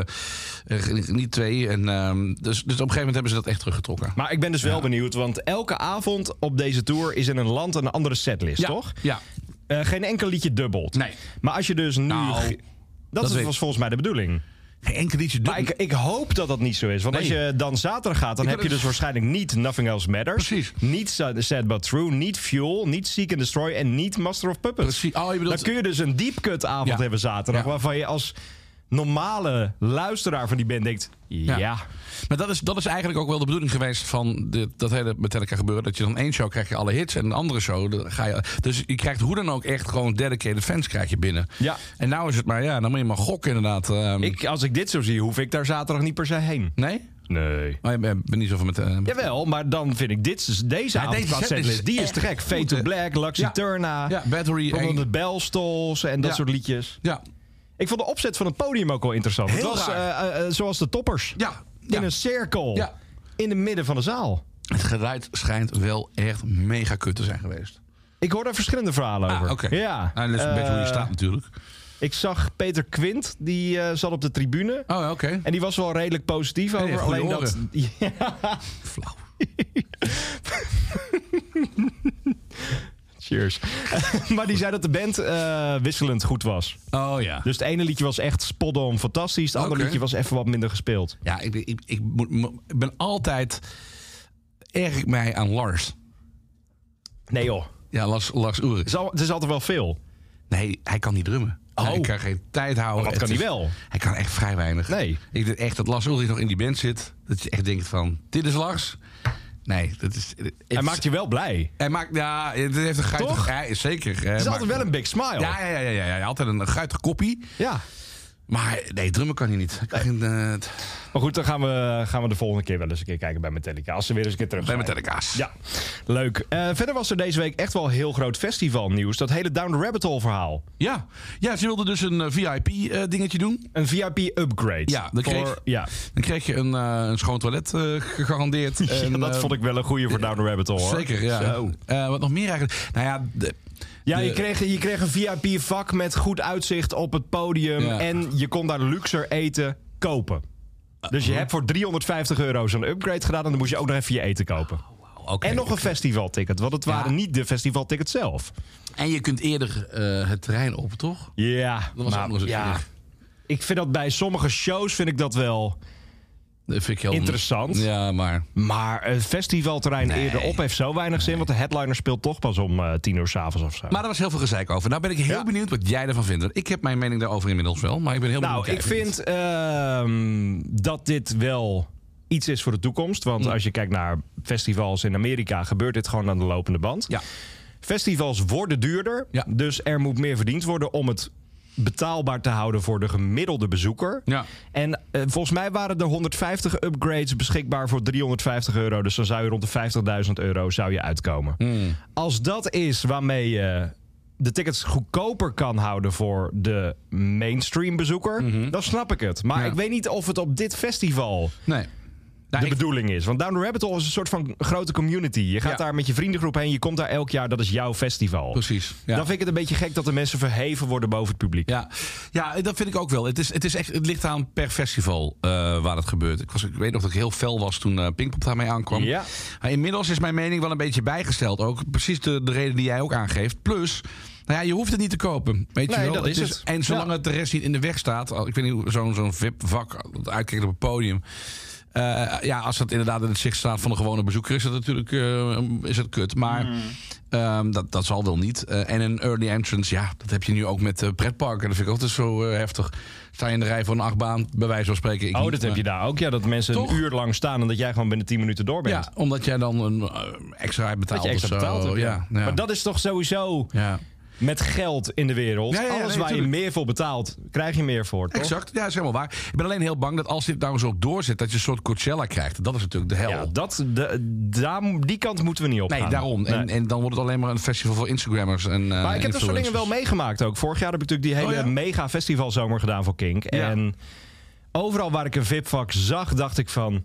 Speaker 4: eh, niet twee. En, ehm, dus, dus op een gegeven moment hebben ze dat echt teruggetrokken.
Speaker 3: Maar ik ben dus wel benieuwd, want elke avond op deze tour is in een land een andere setlist,
Speaker 4: ja,
Speaker 3: toch?
Speaker 4: Ja,
Speaker 3: Eh, geen enkel liedje dubbelt.
Speaker 4: Nee.
Speaker 3: Maar als je dus nu...
Speaker 4: Nou,
Speaker 3: ge- dat
Speaker 4: dat
Speaker 3: is-
Speaker 4: weet
Speaker 3: was
Speaker 4: ik.
Speaker 3: volgens mij de bedoeling.
Speaker 4: geen enkel liedje dubbel.
Speaker 3: Maar ik, ik hoop dat dat niet zo is. Want
Speaker 4: Nee.
Speaker 3: als je dan zaterdag gaat, dan
Speaker 4: Ik
Speaker 3: heb je
Speaker 4: ben-
Speaker 3: dus waarschijnlijk niet Nothing Else Matters.
Speaker 4: Precies.
Speaker 3: Niet Sa- Sad But True, niet Fuel, niet Seek and Destroy en niet Master of Puppets.
Speaker 4: Precies. Oh, je bedoelt-
Speaker 3: Dan kun je dus een deepcut avond
Speaker 4: Ja.
Speaker 3: hebben zaterdag.
Speaker 4: Ja.
Speaker 3: Waarvan je als normale luisteraar van die band denkt... Ja, ja.
Speaker 4: Maar dat is, dat is eigenlijk ook wel de bedoeling geweest van dit, dat hele Metallica gebeuren. Dat je dan één show krijg je alle hits en een andere show dan ga je... Dus je krijgt hoe dan ook echt gewoon dedicated fans krijg je binnen.
Speaker 3: Ja.
Speaker 4: En nou is het maar, ja, dan moet je maar gokken inderdaad. ehm.
Speaker 3: Ik, als ik dit zo zie, hoef ik daar zaterdag niet per se heen.
Speaker 4: Nee? Oh,
Speaker 3: Nee.
Speaker 4: Maar ik ben ben niet zo van met... eh, met-
Speaker 3: Jawel, maar dan vind ik dit, deze
Speaker 4: Ja,
Speaker 3: avond
Speaker 4: deze
Speaker 3: qua
Speaker 4: setlist
Speaker 3: setlist, die is
Speaker 4: echt
Speaker 3: te gek. Fade
Speaker 4: goed,
Speaker 3: to
Speaker 4: hè?
Speaker 3: Black, Luxiturna,
Speaker 4: Ja, Battery
Speaker 3: Ronald
Speaker 4: en-
Speaker 3: de Belstols en dat
Speaker 4: Ja.
Speaker 3: soort liedjes.
Speaker 4: Ja,
Speaker 3: Ik vond de opzet van het podium ook wel interessant.
Speaker 4: Heel
Speaker 3: het was
Speaker 4: raar.
Speaker 3: eh, eh, eh, zoals de toppers.
Speaker 4: Ja,
Speaker 3: In
Speaker 4: ja.
Speaker 3: een cirkel.
Speaker 4: Ja.
Speaker 3: In het midden van de zaal.
Speaker 4: Het geluid schijnt wel echt mega kut te zijn geweest.
Speaker 3: Ik hoor daar verschillende verhalen over. Ja.
Speaker 4: Nou, dat is een beetje hoe je
Speaker 3: Eh,
Speaker 4: staat natuurlijk.
Speaker 3: Ik zag Peter Quint, die eh, zat op de tribune.
Speaker 4: Oh, ja, oké.
Speaker 3: En die was wel redelijk positief over.
Speaker 4: heeft goede
Speaker 3: alleen dat. Ja.
Speaker 4: Flauw.
Speaker 3: Cheers. maar die zei dat de band eh, wisselend goed was.
Speaker 4: Oh ja.
Speaker 3: Dus het ene liedje was echt spot-on fantastisch. Het andere
Speaker 4: Oké.
Speaker 3: liedje was even wat minder gespeeld.
Speaker 4: Ja, ik, ik, ik, moet, mo- ik ben altijd... Erg ik mij aan Lars.
Speaker 3: Nee joh.
Speaker 4: Ja, Lars, Lars Ulrich.
Speaker 3: Het is, al- het is altijd wel veel.
Speaker 4: Nee, hij kan niet drummen.
Speaker 3: Oh.
Speaker 4: Hij kan geen tijd houden.
Speaker 3: Maar wat
Speaker 4: Het
Speaker 3: kan hij
Speaker 4: is-
Speaker 3: wel?
Speaker 4: Hij kan echt vrij weinig.
Speaker 3: Nee.
Speaker 4: Ik denk echt dat Lars Ulrich nog in die band zit. Dat je echt denkt van, dit is Lars. Nee, dat is...
Speaker 3: Hij maakt je wel blij. Het
Speaker 4: Hij maakt, ja, dit heeft een guitig...
Speaker 3: Toch?
Speaker 4: Ja, zeker. Het
Speaker 3: is altijd wel een big smile.
Speaker 4: Ja, ja, ja, ja, ja, ja, altijd een guitig koppie.
Speaker 3: Ja.
Speaker 4: Maar nee, drummen kan hij niet. Hij kan geen, eh, t-
Speaker 3: Maar goed, dan gaan we, gaan we de volgende keer wel eens een keer kijken bij Metallica. Als ze weer eens een keer terug
Speaker 4: bij
Speaker 3: zijn.
Speaker 4: Metallica's.
Speaker 3: Ja, leuk. Eh, verder was er deze week echt wel heel groot festivalnieuws. Dat hele Down the Rabbit Hole verhaal.
Speaker 4: ja. Ja, ze wilden dus een VIP-dingetje eh, doen.
Speaker 3: Een VIP-upgrade.
Speaker 4: Ja, dat kreeg-
Speaker 3: ja.
Speaker 4: Dan kreeg je een, eh, een schoon toilet eh, gegarandeerd.
Speaker 3: Ja,
Speaker 4: En,
Speaker 3: dat
Speaker 4: eh,
Speaker 3: vond ik wel een goeie voor Down the Rabbit Hole. hoor.
Speaker 4: Zeker, ja.
Speaker 3: Zo.
Speaker 4: Eh, wat nog meer eigenlijk. Nou ja, de-
Speaker 3: Ja,
Speaker 4: de-
Speaker 3: je kreeg, je kreeg een VIP-vak met goed uitzicht op het podium.
Speaker 4: Ja.
Speaker 3: En je kon daar luxer eten kopen. Dus
Speaker 4: Ah.
Speaker 3: je hebt voor 350 euro zo'n upgrade gedaan. En dan moest je ook nog even je eten kopen.
Speaker 4: Ah, oké.
Speaker 3: En nog een festivalticket. Want het waren
Speaker 4: Ja.
Speaker 3: niet de festivaltickets zelf.
Speaker 4: en je kunt eerder eh, het terrein op, toch?
Speaker 3: Ja,
Speaker 4: Dat was
Speaker 3: maar
Speaker 4: ook nog eens
Speaker 3: ja.
Speaker 4: erg.
Speaker 3: Ik vind dat bij sommige shows vind ik dat wel.
Speaker 4: Dat vind ik heel
Speaker 3: Interessant.
Speaker 4: Ja, maar.
Speaker 3: Maar een festivalterrein
Speaker 4: Nee.
Speaker 3: eerder op heeft zo weinig zin. Want de headliner speelt toch pas om eh, tien uur s'avonds of zo.
Speaker 4: Maar er was heel veel gezeik over. Nou ben ik heel
Speaker 3: Ja.
Speaker 4: benieuwd wat jij ervan vindt. Want Ik heb mijn mening daarover inmiddels wel. Maar ik ben heel
Speaker 3: nou, ik
Speaker 4: benieuwd. wat jij
Speaker 3: vind ehm, dat dit wel iets is voor de toekomst. Want als je kijkt naar festivals in Amerika, gebeurt dit gewoon aan de lopende band.
Speaker 4: Ja.
Speaker 3: Festivals worden duurder.
Speaker 4: Ja.
Speaker 3: Dus er moet meer verdiend worden om het betaalbaar te houden voor de gemiddelde bezoeker.
Speaker 4: Ja.
Speaker 3: En eh, volgens mij waren er 150 upgrades beschikbaar voor 350 euro. Dus dan zou je rond de 50.000 euro zou je uitkomen.
Speaker 4: Hmm.
Speaker 3: Als dat is waarmee je de tickets goedkoper kan houden voor de mainstream bezoeker, dan snap ik het. Maar
Speaker 4: Mhm. Ja.
Speaker 3: ik weet niet of het op dit festival
Speaker 4: Nee. Nou,
Speaker 3: de
Speaker 4: ik-
Speaker 3: bedoeling is. Want Down the Rabbit Hole is een soort van grote community. Je gaat
Speaker 4: Ja.
Speaker 3: daar met je vriendengroep heen, je komt daar elk jaar, dat is jouw festival.
Speaker 4: Precies.
Speaker 3: Dan
Speaker 4: Ja.
Speaker 3: vind ik het een beetje gek dat de mensen verheven worden boven het publiek.
Speaker 4: Ja. ja, dat vind ik ook wel. Het, is, het, is echt, het ligt aan per festival eh, waar het gebeurt. Ik, was, ik weet nog dat ik heel fel was toen eh, Pinkpop daarmee aankwam.
Speaker 3: Ja.
Speaker 4: Maar inmiddels is mijn mening wel een beetje bijgesteld. Ook precies de, de reden die jij ook aangeeft. Plus, nou ja, je hoeft het niet te kopen. Weet
Speaker 3: Nee,
Speaker 4: je wel?
Speaker 3: dat is het.
Speaker 4: En zolang
Speaker 3: Ja.
Speaker 4: het de rest niet in de weg staat. al- Ik weet niet, hoe- zo'n zo'n VIP-vak dat uitkijkt op het podium. Eh, ja, als dat inderdaad in het zicht staat van een gewone bezoeker, is dat natuurlijk eh, is dat kut. Maar ehm, dat, dat zal wel niet. Eh, en een early entrance, ja, dat heb je nu ook met eh, pretparken. Dat vind ik altijd zo eh, heftig. Sta je in de rij voor een achtbaan, bij wijze van spreken. Ik
Speaker 3: Oh,
Speaker 4: niet,
Speaker 3: dat heb
Speaker 4: maar-
Speaker 3: je daar ook. Ja, dat mensen
Speaker 4: Toch?
Speaker 3: een uur lang staan en dat jij gewoon binnen 10 minuten door bent.
Speaker 4: Ja, omdat jij dan een eh, extra hebt betaald
Speaker 3: Dat je extra
Speaker 4: of zo.
Speaker 3: betaald hebt.
Speaker 4: ja, ja.
Speaker 3: Maar dat is toch sowieso
Speaker 4: Ja.
Speaker 3: met geld in de wereld.
Speaker 4: Ja, ja, ja,
Speaker 3: Alles
Speaker 4: nee,
Speaker 3: waar
Speaker 4: tuurlijk.
Speaker 3: je meer voor betaalt, krijg je meer voor. Toch?
Speaker 4: Exact, ja, is helemaal waar. Ik ben alleen heel bang dat als dit nou zo doorzet, dat je een soort Coachella krijgt. Dat is natuurlijk de hel.
Speaker 3: Ja, dat, de, daar, die kant moeten we niet op
Speaker 4: nee,
Speaker 3: gaan.
Speaker 4: daarom. En, en dan wordt het alleen maar een festival voor Instagrammers en eh,
Speaker 3: Maar ik heb dat soort dingen wel
Speaker 4: influencers.
Speaker 3: meegemaakt ook. Vorig jaar heb ik natuurlijk die hele
Speaker 4: Oh, ja.
Speaker 3: mega festivalzomer gedaan voor Kink.
Speaker 4: Ja.
Speaker 3: En overal waar ik een VIP-vak zag, dacht ik van...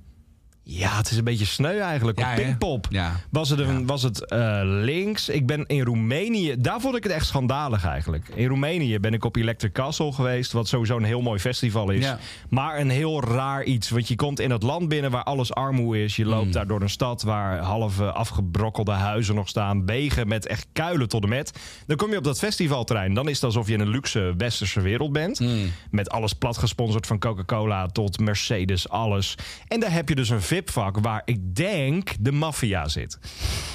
Speaker 3: Ja, het is een beetje sneu eigenlijk.
Speaker 4: Ja,
Speaker 3: Op
Speaker 4: hè?
Speaker 3: Pinkpop
Speaker 4: Ja.
Speaker 3: was het, een, was het eh, links. Ik ben in Roemenië... Daar vond ik het echt schandalig eigenlijk. In Roemenië ben ik op Electric Castle geweest... wat sowieso een heel mooi festival is.
Speaker 4: Ja.
Speaker 3: Maar een heel raar iets. Want je komt in het land binnen waar alles armoe is. Je loopt daar door een stad waar half eh, afgebrokkelde huizen nog staan. Wegen met echt kuilen tot en met. Dan kom je op dat festivalterrein. Dan is het alsof je in een luxe westerse wereld bent. Met alles plat gesponsord van Coca-Cola tot Mercedes, alles. En daar heb je dus een VIP-vak waar ik denk de maffia zit.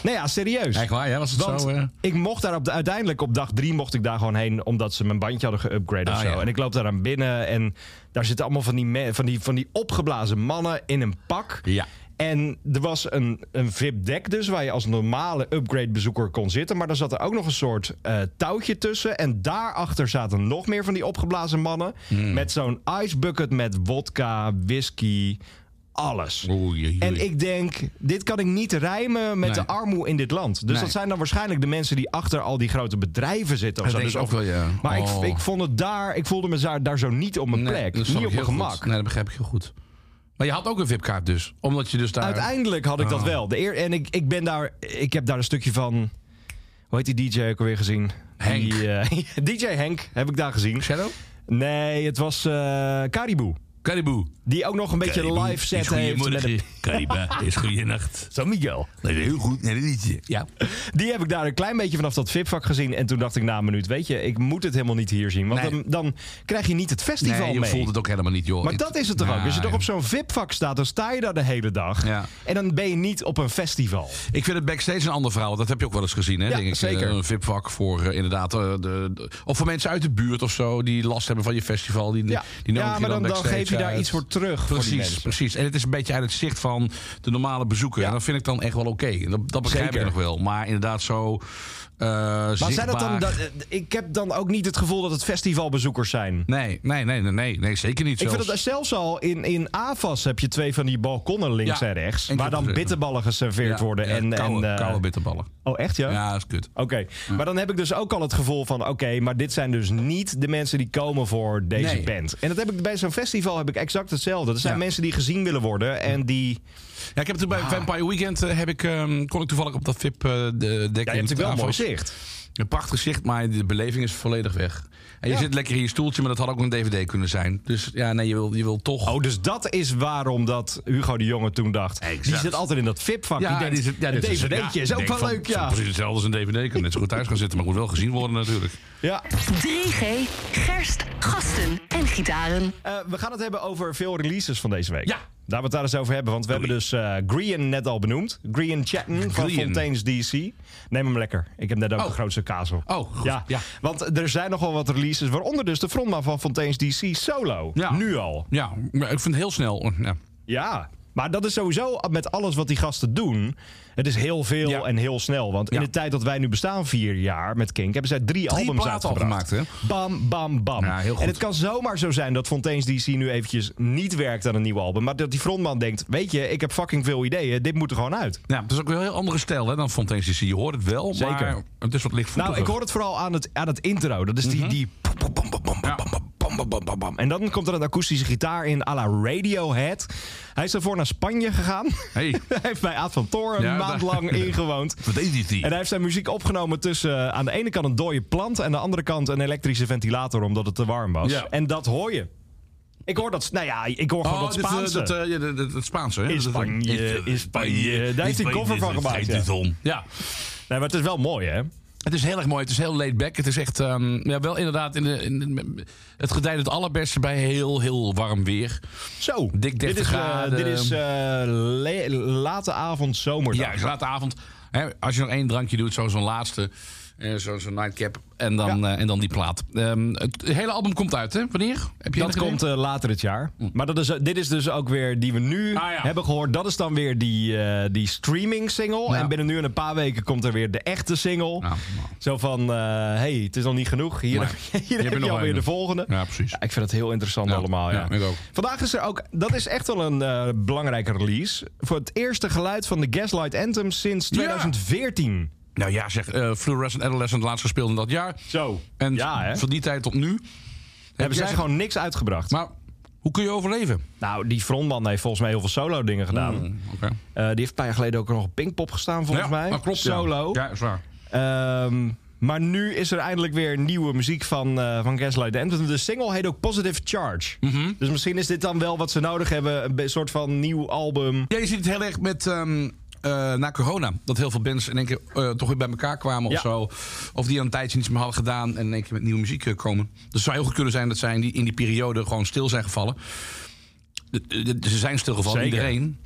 Speaker 3: Nou ja, serieus.
Speaker 4: Echt waar, ja, was het
Speaker 3: Want
Speaker 4: zo? eh?
Speaker 3: ik mocht daar op de, uiteindelijk op dag drie mocht ik daar gewoon heen omdat ze mijn bandje hadden geüpgrade of
Speaker 4: Ah,
Speaker 3: zo.
Speaker 4: ja.
Speaker 3: En ik loop daar aan binnen en daar zitten allemaal van die, me- van die, van die opgeblazen mannen in een pak.
Speaker 4: Ja.
Speaker 3: En er was een, een VIP-deck dus, waar je als normale upgrade-bezoeker kon zitten. Maar daar zat er ook nog een soort eh, touwtje tussen. En daarachter zaten nog meer van die opgeblazen mannen.
Speaker 4: Hmm.
Speaker 3: Met zo'n icebucket met wodka, whisky, alles.
Speaker 4: Oei, oei, oei.
Speaker 3: En ik denk, dit kan ik niet rijmen met
Speaker 4: Nee.
Speaker 3: de armoe in dit land. Dus
Speaker 4: Nee.
Speaker 3: dat zijn dan waarschijnlijk de mensen die achter al die grote bedrijven zitten. Of
Speaker 4: Dat
Speaker 3: zo.
Speaker 4: denk
Speaker 3: Dus
Speaker 4: ik ook
Speaker 3: of-
Speaker 4: wel, ja.
Speaker 3: Maar
Speaker 4: Oh.
Speaker 3: ik, ik vond het daar, ik voelde me daar, daar zo niet op mijn
Speaker 4: Nee,
Speaker 3: plek.
Speaker 4: dat
Speaker 3: Niet
Speaker 4: snap ik
Speaker 3: op mijn
Speaker 4: heel
Speaker 3: gemak.
Speaker 4: goed. Nee, dat begrijp ik heel goed. Maar je had ook een VIP-kaart dus, omdat je dus daar...
Speaker 3: Uiteindelijk had ik dat
Speaker 4: Ah.
Speaker 3: wel. De eer, en ik, ik ben daar, ik heb daar een stukje van. Hoe heet die DJ ook alweer gezien?
Speaker 4: Henk.
Speaker 3: Die, eh, DJ Henk heb ik daar gezien.
Speaker 4: Shadow?
Speaker 3: Nee, het was eh Caribou.
Speaker 4: Caribou.
Speaker 3: Die ook nog een beetje een live set heeft. Met een,
Speaker 4: Caribou is goeienacht.
Speaker 3: San Miguel.
Speaker 4: Dat is heel goed. Nee, dat liedje. Ja.
Speaker 3: Die heb ik daar een klein beetje vanaf dat VIP-vak gezien. En toen dacht ik na een minuut, weet je, ik moet het helemaal niet hier zien. Want
Speaker 4: Nee.
Speaker 3: dan, dan krijg je niet het festival
Speaker 4: Nee, je
Speaker 3: mee.
Speaker 4: voelt het ook helemaal niet, joh.
Speaker 3: Maar dat is het toch ook. Als je
Speaker 4: Ja,
Speaker 3: toch op zo'n VIP-vak staat, dan sta je daar de hele dag.
Speaker 4: Ja.
Speaker 3: En dan ben je niet op een festival.
Speaker 4: Ik vind het backstage een ander verhaal. want Dat heb je ook wel eens gezien, hè?
Speaker 3: Ja,
Speaker 4: denk ik.
Speaker 3: zeker.
Speaker 4: Eh, Een VIP-vak voor eh, inderdaad. eh, de, de- of voor mensen uit de buurt of zo. die last hebben van je festival. Die,
Speaker 3: Ja,
Speaker 4: die nodig
Speaker 3: ja maar dan, dan
Speaker 4: backstage
Speaker 3: geef je daar
Speaker 4: uit.
Speaker 3: iets voor terug. voor die
Speaker 4: Precies,
Speaker 3: mensen.
Speaker 4: precies. En het is een beetje uit het zicht van de normale bezoeker. En dat vind ik dan echt wel oké. Dat, dat begrijp
Speaker 3: Zeker.
Speaker 4: ik nog wel. Maar inderdaad zo eh
Speaker 3: Maar zijn dat
Speaker 4: zichtbaar-
Speaker 3: dan, dat- eh, ik heb dan ook niet het gevoel dat het festivalbezoekers zijn.
Speaker 4: Nee, nee, nee, nee, nee, nee, zeker niet.
Speaker 3: Ik
Speaker 4: zelfs.
Speaker 3: vind dat zelfs al in, in AFAS heb je twee van die balkonnen links
Speaker 4: Ja,
Speaker 3: en rechts.
Speaker 4: en
Speaker 3: Waar
Speaker 4: dat
Speaker 3: dan
Speaker 4: is-
Speaker 3: bitterballen geserveerd
Speaker 4: Ja,
Speaker 3: worden.
Speaker 4: ja,
Speaker 3: en,
Speaker 4: koude,
Speaker 3: en, eh,
Speaker 4: koude bitterballen.
Speaker 3: Oh, echt ja?
Speaker 4: Ja, dat is kut.
Speaker 3: Oké, maar dan heb ik dus ook al het gevoel van... oké, maar dit zijn dus niet de mensen die komen voor deze
Speaker 4: Nee.
Speaker 3: band. En dat heb ik bij zo'n festival heb ik exact hetzelfde. Er zijn
Speaker 4: Ja.
Speaker 3: mensen die gezien willen worden en die...
Speaker 4: Ja, ik heb toen bij Vampire Weekend eh, heb ik, ehm, kon ik toevallig op dat VIP eh, de dek
Speaker 3: Ja, je
Speaker 4: in
Speaker 3: hebt natuurlijk wel een
Speaker 4: Davos.
Speaker 3: mooi zicht.
Speaker 4: Een prachtig zicht, maar de beleving is volledig weg. En je
Speaker 3: Ja.
Speaker 4: zit lekker in je stoeltje, maar dat had ook een DVD kunnen zijn. Dus ja, nee, je wil, je wil toch.
Speaker 3: Oh, dus dat is waarom dat Hugo de Jonge toen dacht... die
Speaker 4: Exact.
Speaker 3: zit altijd in dat VIP-vak.
Speaker 4: ja,
Speaker 3: die denkt,
Speaker 4: zit- ja,
Speaker 3: een
Speaker 4: dit is-
Speaker 3: dvd'tje
Speaker 4: ja,
Speaker 3: is ook
Speaker 4: ik denk
Speaker 3: wel
Speaker 4: van,
Speaker 3: leuk,
Speaker 4: het is
Speaker 3: ja.
Speaker 4: Precies hetzelfde als een DVD. Ik kan net zo goed thuis gaan zitten, maar moet wel gezien worden natuurlijk.
Speaker 3: ja.
Speaker 2: 3G, gerst, gasten en gitaren.
Speaker 3: Eh, we gaan het hebben over veel releases van deze week.
Speaker 4: Ja.
Speaker 3: Daar we het daar eens over hebben. Want we hebben dus eh Green net al benoemd. Green Chatton van
Speaker 4: Green.
Speaker 3: Fontaine's DC. Neem hem lekker. Ik heb net ook
Speaker 4: Oh.
Speaker 3: de grootste kazel.
Speaker 4: Oh, goed.
Speaker 3: Ja.
Speaker 4: Ja.
Speaker 3: Want er zijn nogal wat releases. Waaronder dus de frontman van Fontaine's DC solo.
Speaker 4: Ja.
Speaker 3: Nu al.
Speaker 4: Ja, maar ik vind het heel snel. Ja.
Speaker 3: Ja. Maar dat is sowieso met alles wat die gasten doen. Het is heel veel
Speaker 4: Ja.
Speaker 3: en heel snel. Want in
Speaker 4: Ja.
Speaker 3: de tijd dat wij nu bestaan, vier jaar met Kink, hebben zij drie, albums
Speaker 4: platen al
Speaker 3: uitgebracht.
Speaker 4: gemaakt,
Speaker 3: Bam, bam, bam.
Speaker 4: Ja, heel goed.
Speaker 3: En het kan zomaar zo zijn dat Fontaine's DC nu eventjes niet werkt aan een nieuw album. Maar dat die frontman denkt, weet je, ik heb fucking veel ideeën. Dit moet er gewoon uit.
Speaker 4: Ja, het is ook wel een heel andere stijl hè, dan Fontaine's DC. Je hoort het wel, maar
Speaker 3: Zeker.
Speaker 4: het is wat lichtvoetiger.
Speaker 3: Nou, ik hoor het vooral aan het, aan het intro. Dat is die... die pom, pom, pom, pom,
Speaker 4: Mhm. Ja.
Speaker 3: pom, pom, pom, pom, pom, pom, pom. En dan komt er een akoestische gitaar in à la Radiohead. Hij is daarvoor naar Spanje gegaan.
Speaker 4: Hey.
Speaker 3: hij heeft bij Aad van Toren
Speaker 4: Ja,
Speaker 3: een maand
Speaker 4: daar-
Speaker 3: lang ingewoond.
Speaker 4: Fontaine's DC.
Speaker 3: En hij heeft zijn muziek opgenomen tussen eh, aan de ene kant een dode plant... en aan de andere kant een elektrische ventilator omdat het te warm was.
Speaker 4: Ja.
Speaker 3: En dat hoor je. Ik hoor dat... Nou ja, ik hoor gewoon
Speaker 4: Oh,
Speaker 3: dat
Speaker 4: dit, eh,
Speaker 3: Spaanse.
Speaker 4: Dat, eh, ja, dat- dat- dat Spaanse, hè?
Speaker 3: In
Speaker 4: Dat- dat-
Speaker 3: Spanje,
Speaker 4: eh,
Speaker 3: in Spanje. Daar heeft hij een cover van
Speaker 4: dat-
Speaker 3: gemaakt,
Speaker 4: dat-
Speaker 3: ja.
Speaker 4: dat- Ja.
Speaker 3: Nee, maar het is wel mooi, hè?
Speaker 4: Het is heel erg mooi. Het is heel laid back. Het is echt ehm, ja, wel inderdaad in de, in- het gedijt het allerbeste bij heel, heel warm weer.
Speaker 3: Zo.
Speaker 4: Dik 30
Speaker 3: dit is, eh,
Speaker 4: graden.
Speaker 3: dit is eh, le- late avond zomerdag.
Speaker 4: Ja, dus late avond. Hè, als je nog één drankje doet, zo zo'n laatste. eh, zo- Zo'n nightcap. En dan, eh, en dan die plaat. Ehm, het hele album komt uit, hè? Wanneer? Heb je
Speaker 3: Dat
Speaker 4: enig idee?
Speaker 3: komt eh, later het jaar. Maar dat is, eh, dit is dus ook weer die we nu
Speaker 4: Hm. Ah, ja.
Speaker 3: hebben gehoord. Dat is dan weer die, eh, die streaming single.
Speaker 4: Ja.
Speaker 3: En binnen nu en een paar weken komt er weer de echte single.
Speaker 4: nou.
Speaker 3: Zo van, eh, hey, het is nog niet genoeg. Hier,
Speaker 4: Maar
Speaker 3: hier heb
Speaker 4: nog
Speaker 3: je alweer
Speaker 4: een.
Speaker 3: de volgende.
Speaker 4: Ja, precies.
Speaker 3: eh, Ja, ik vind het heel interessant
Speaker 4: Ja,
Speaker 3: allemaal. Ja.
Speaker 4: ja, ik ook.
Speaker 3: Vandaag is er ook, dat is echt wel een eh, belangrijke release. Voor het eerste geluid van de Gaslight Anthem sinds
Speaker 4: Ja.
Speaker 3: 2014.
Speaker 4: Nou ja, zeg. eh Fluorescent Adolescent, laatst gespeeld in dat jaar.
Speaker 3: Zo.
Speaker 4: En
Speaker 3: ja, hè?
Speaker 4: van die tijd tot nu.
Speaker 3: Hebben zij
Speaker 4: jij-
Speaker 3: gewoon niks uitgebracht.
Speaker 4: Maar hoe kun je overleven?
Speaker 3: nou, die frontman heeft volgens mij heel veel solo dingen gedaan.
Speaker 4: Oké.
Speaker 3: Eh, die heeft een paar jaar geleden ook nog op Pinkpop gestaan, volgens
Speaker 4: Ja,
Speaker 3: mij.
Speaker 4: dat klopt. ja.
Speaker 3: Solo.
Speaker 4: Ja, is waar.
Speaker 3: Ehm, maar nu is er eindelijk weer nieuwe muziek van, eh van Gaslight Anthem. De single heet ook Positive Charge.
Speaker 4: Mhm.
Speaker 3: Dus misschien is dit dan wel wat ze nodig hebben. Een be- soort van nieuw album.
Speaker 4: Ja, je ziet het heel erg met. ehm, eh, na corona, dat heel veel bands in één keer eh, toch weer bij elkaar kwamen of
Speaker 3: Ja.
Speaker 4: zo. Of die al een tijdje niets meer hadden gedaan en in één keer met nieuwe muziek eh, komen. Dus het zou heel goed kunnen zijn dat zij in die, in die periode gewoon stil zijn gevallen. De- de- de- Ze zijn stilgevallen,
Speaker 3: Zeker.
Speaker 4: iedereen.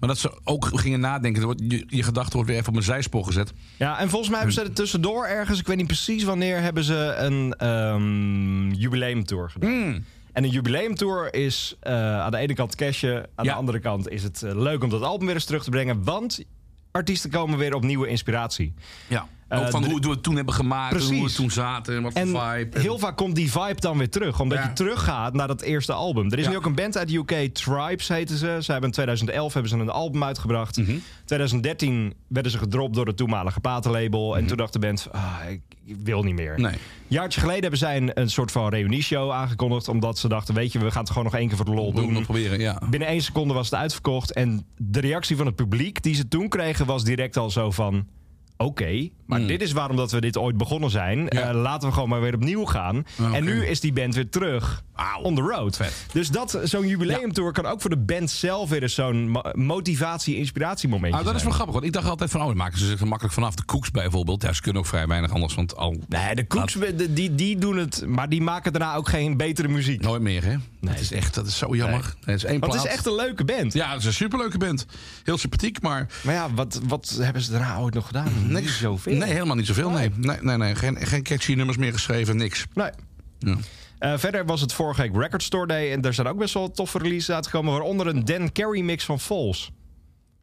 Speaker 4: Maar dat ze ook gingen nadenken. Er wordt- Je, je gedachte wordt weer even op een zijspoor gezet.
Speaker 3: Ja, en volgens mij hebben ze er tussendoor ergens, ik weet niet precies wanneer, hebben ze een ehm, jubileumtour gedaan.
Speaker 4: Mm.
Speaker 3: En een jubileumtour is eh, aan de ene kant cashen, aan
Speaker 4: Ja.
Speaker 3: de andere kant is het eh, leuk om dat album weer eens terug te brengen. Want artiesten komen weer op nieuwe inspiratie.
Speaker 4: Ja.
Speaker 3: Eh,
Speaker 4: Ook van
Speaker 3: de-
Speaker 4: hoe, hoe we het toen hebben gemaakt, en hoe we
Speaker 3: Precies.
Speaker 4: toen zaten en wat voor
Speaker 3: En
Speaker 4: vibe. en-
Speaker 3: heel vaak komt die vibe dan weer terug. Omdat
Speaker 4: Ja.
Speaker 3: je teruggaat naar dat eerste album. Er is
Speaker 4: Ja.
Speaker 3: nu ook een band uit de UK, Tribes heten ze. Ze hebben in 2011 hebben ze een album uitgebracht.
Speaker 4: Mhm.
Speaker 3: 2013 werden ze gedropt door het toenmalige platenlabel. En toen dacht de band, ah, ik ik wil niet meer.
Speaker 4: Mhm. Nee.
Speaker 3: Een jaartje geleden hebben zij een, een soort van reunieshow aangekondigd. Omdat ze dachten, weet je, we gaan het gewoon nog één keer voor de lol
Speaker 4: Doen we
Speaker 3: doen.
Speaker 4: nog proberen, ja.
Speaker 3: Binnen één seconde was het uitverkocht. En de reactie van het publiek die ze toen kregen was direct al zo van... Oké, maar
Speaker 4: Hmm.
Speaker 3: dit is waarom dat we dit ooit begonnen zijn. Eh, laten we gewoon maar weer opnieuw gaan.
Speaker 4: Ah, oké.
Speaker 3: En nu is die band weer terug
Speaker 4: Wauw.
Speaker 3: on the road.
Speaker 4: Vet.
Speaker 3: Dus dat, zo'n jubileumtour kan ook voor de band zelf weer eens zo'n mo- motivatie-inspiratiemomentje
Speaker 4: Nou, dat is wel
Speaker 3: zijn.
Speaker 4: grappig, want ik dacht altijd van... oh, daar maken ze zich er makkelijk vanaf. De Koeks bijvoorbeeld, ja, ze kunnen ook vrij weinig anders. Want al
Speaker 3: Nee, de Cooks, de- die, die doen het, maar die maken daarna ook geen betere muziek.
Speaker 4: Nooit meer, hè? Dat is echt, dat is zo jammer. Dat is één
Speaker 3: Want
Speaker 4: plaat.
Speaker 3: het is echt een leuke band.
Speaker 4: Ja, het is een superleuke band. Heel sympathiek, maar
Speaker 3: Maar ja, wat, wat hebben ze daarna ooit nog gedaan? Niks. Zoveel.
Speaker 4: Mm-hmm. nee, helemaal niet zoveel.
Speaker 3: Oh.
Speaker 4: Nee, nee, nee, nee. Geen, geen catchy nummers meer geschreven, niks.
Speaker 3: Nee.
Speaker 4: Ja.
Speaker 3: Eh, verder was het vorige week Record Store Day. En daar zijn ook best wel toffe releases uitgekomen. Waaronder een Dan Carey mix van Falls.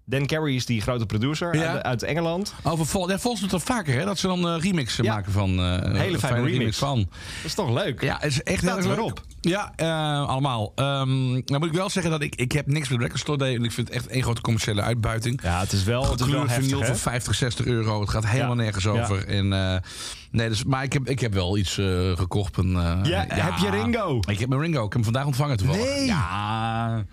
Speaker 3: Dan Carey is die grote producer
Speaker 4: Ja.
Speaker 3: uit, uit Engeland.
Speaker 4: Over Vol, ja, Vols doet dat vaker, hè? Dat ze dan eh remixen
Speaker 3: Ja.
Speaker 4: maken van. eh, een
Speaker 3: fijne remix.
Speaker 4: van.
Speaker 3: Dat is toch leuk?
Speaker 4: Ja, het is echt
Speaker 3: Staat
Speaker 4: heel erg
Speaker 3: er
Speaker 4: leuk.
Speaker 3: op.
Speaker 4: Ja, eh, allemaal. Ehm nou moet ik wel zeggen dat ik, ik heb niks met Record Store Day. En ik vind het echt één grote commerciële uitbuiting.
Speaker 3: Ja, het is wel, het is wel
Speaker 4: Gekleurd
Speaker 3: heftig,
Speaker 4: vinyl
Speaker 3: hè?
Speaker 4: voor 50, 60 euro. Het gaat helemaal
Speaker 3: Ja.
Speaker 4: nergens
Speaker 3: Ja.
Speaker 4: over. En, eh, nee, dus, maar ik heb, ik heb wel iets eh, gekocht. Een, eh,
Speaker 3: Ja, heb je Ringo?
Speaker 4: Ik heb mijn Ringo. Ik heb hem vandaag ontvangen toevallig.
Speaker 3: Nee.
Speaker 4: Ja.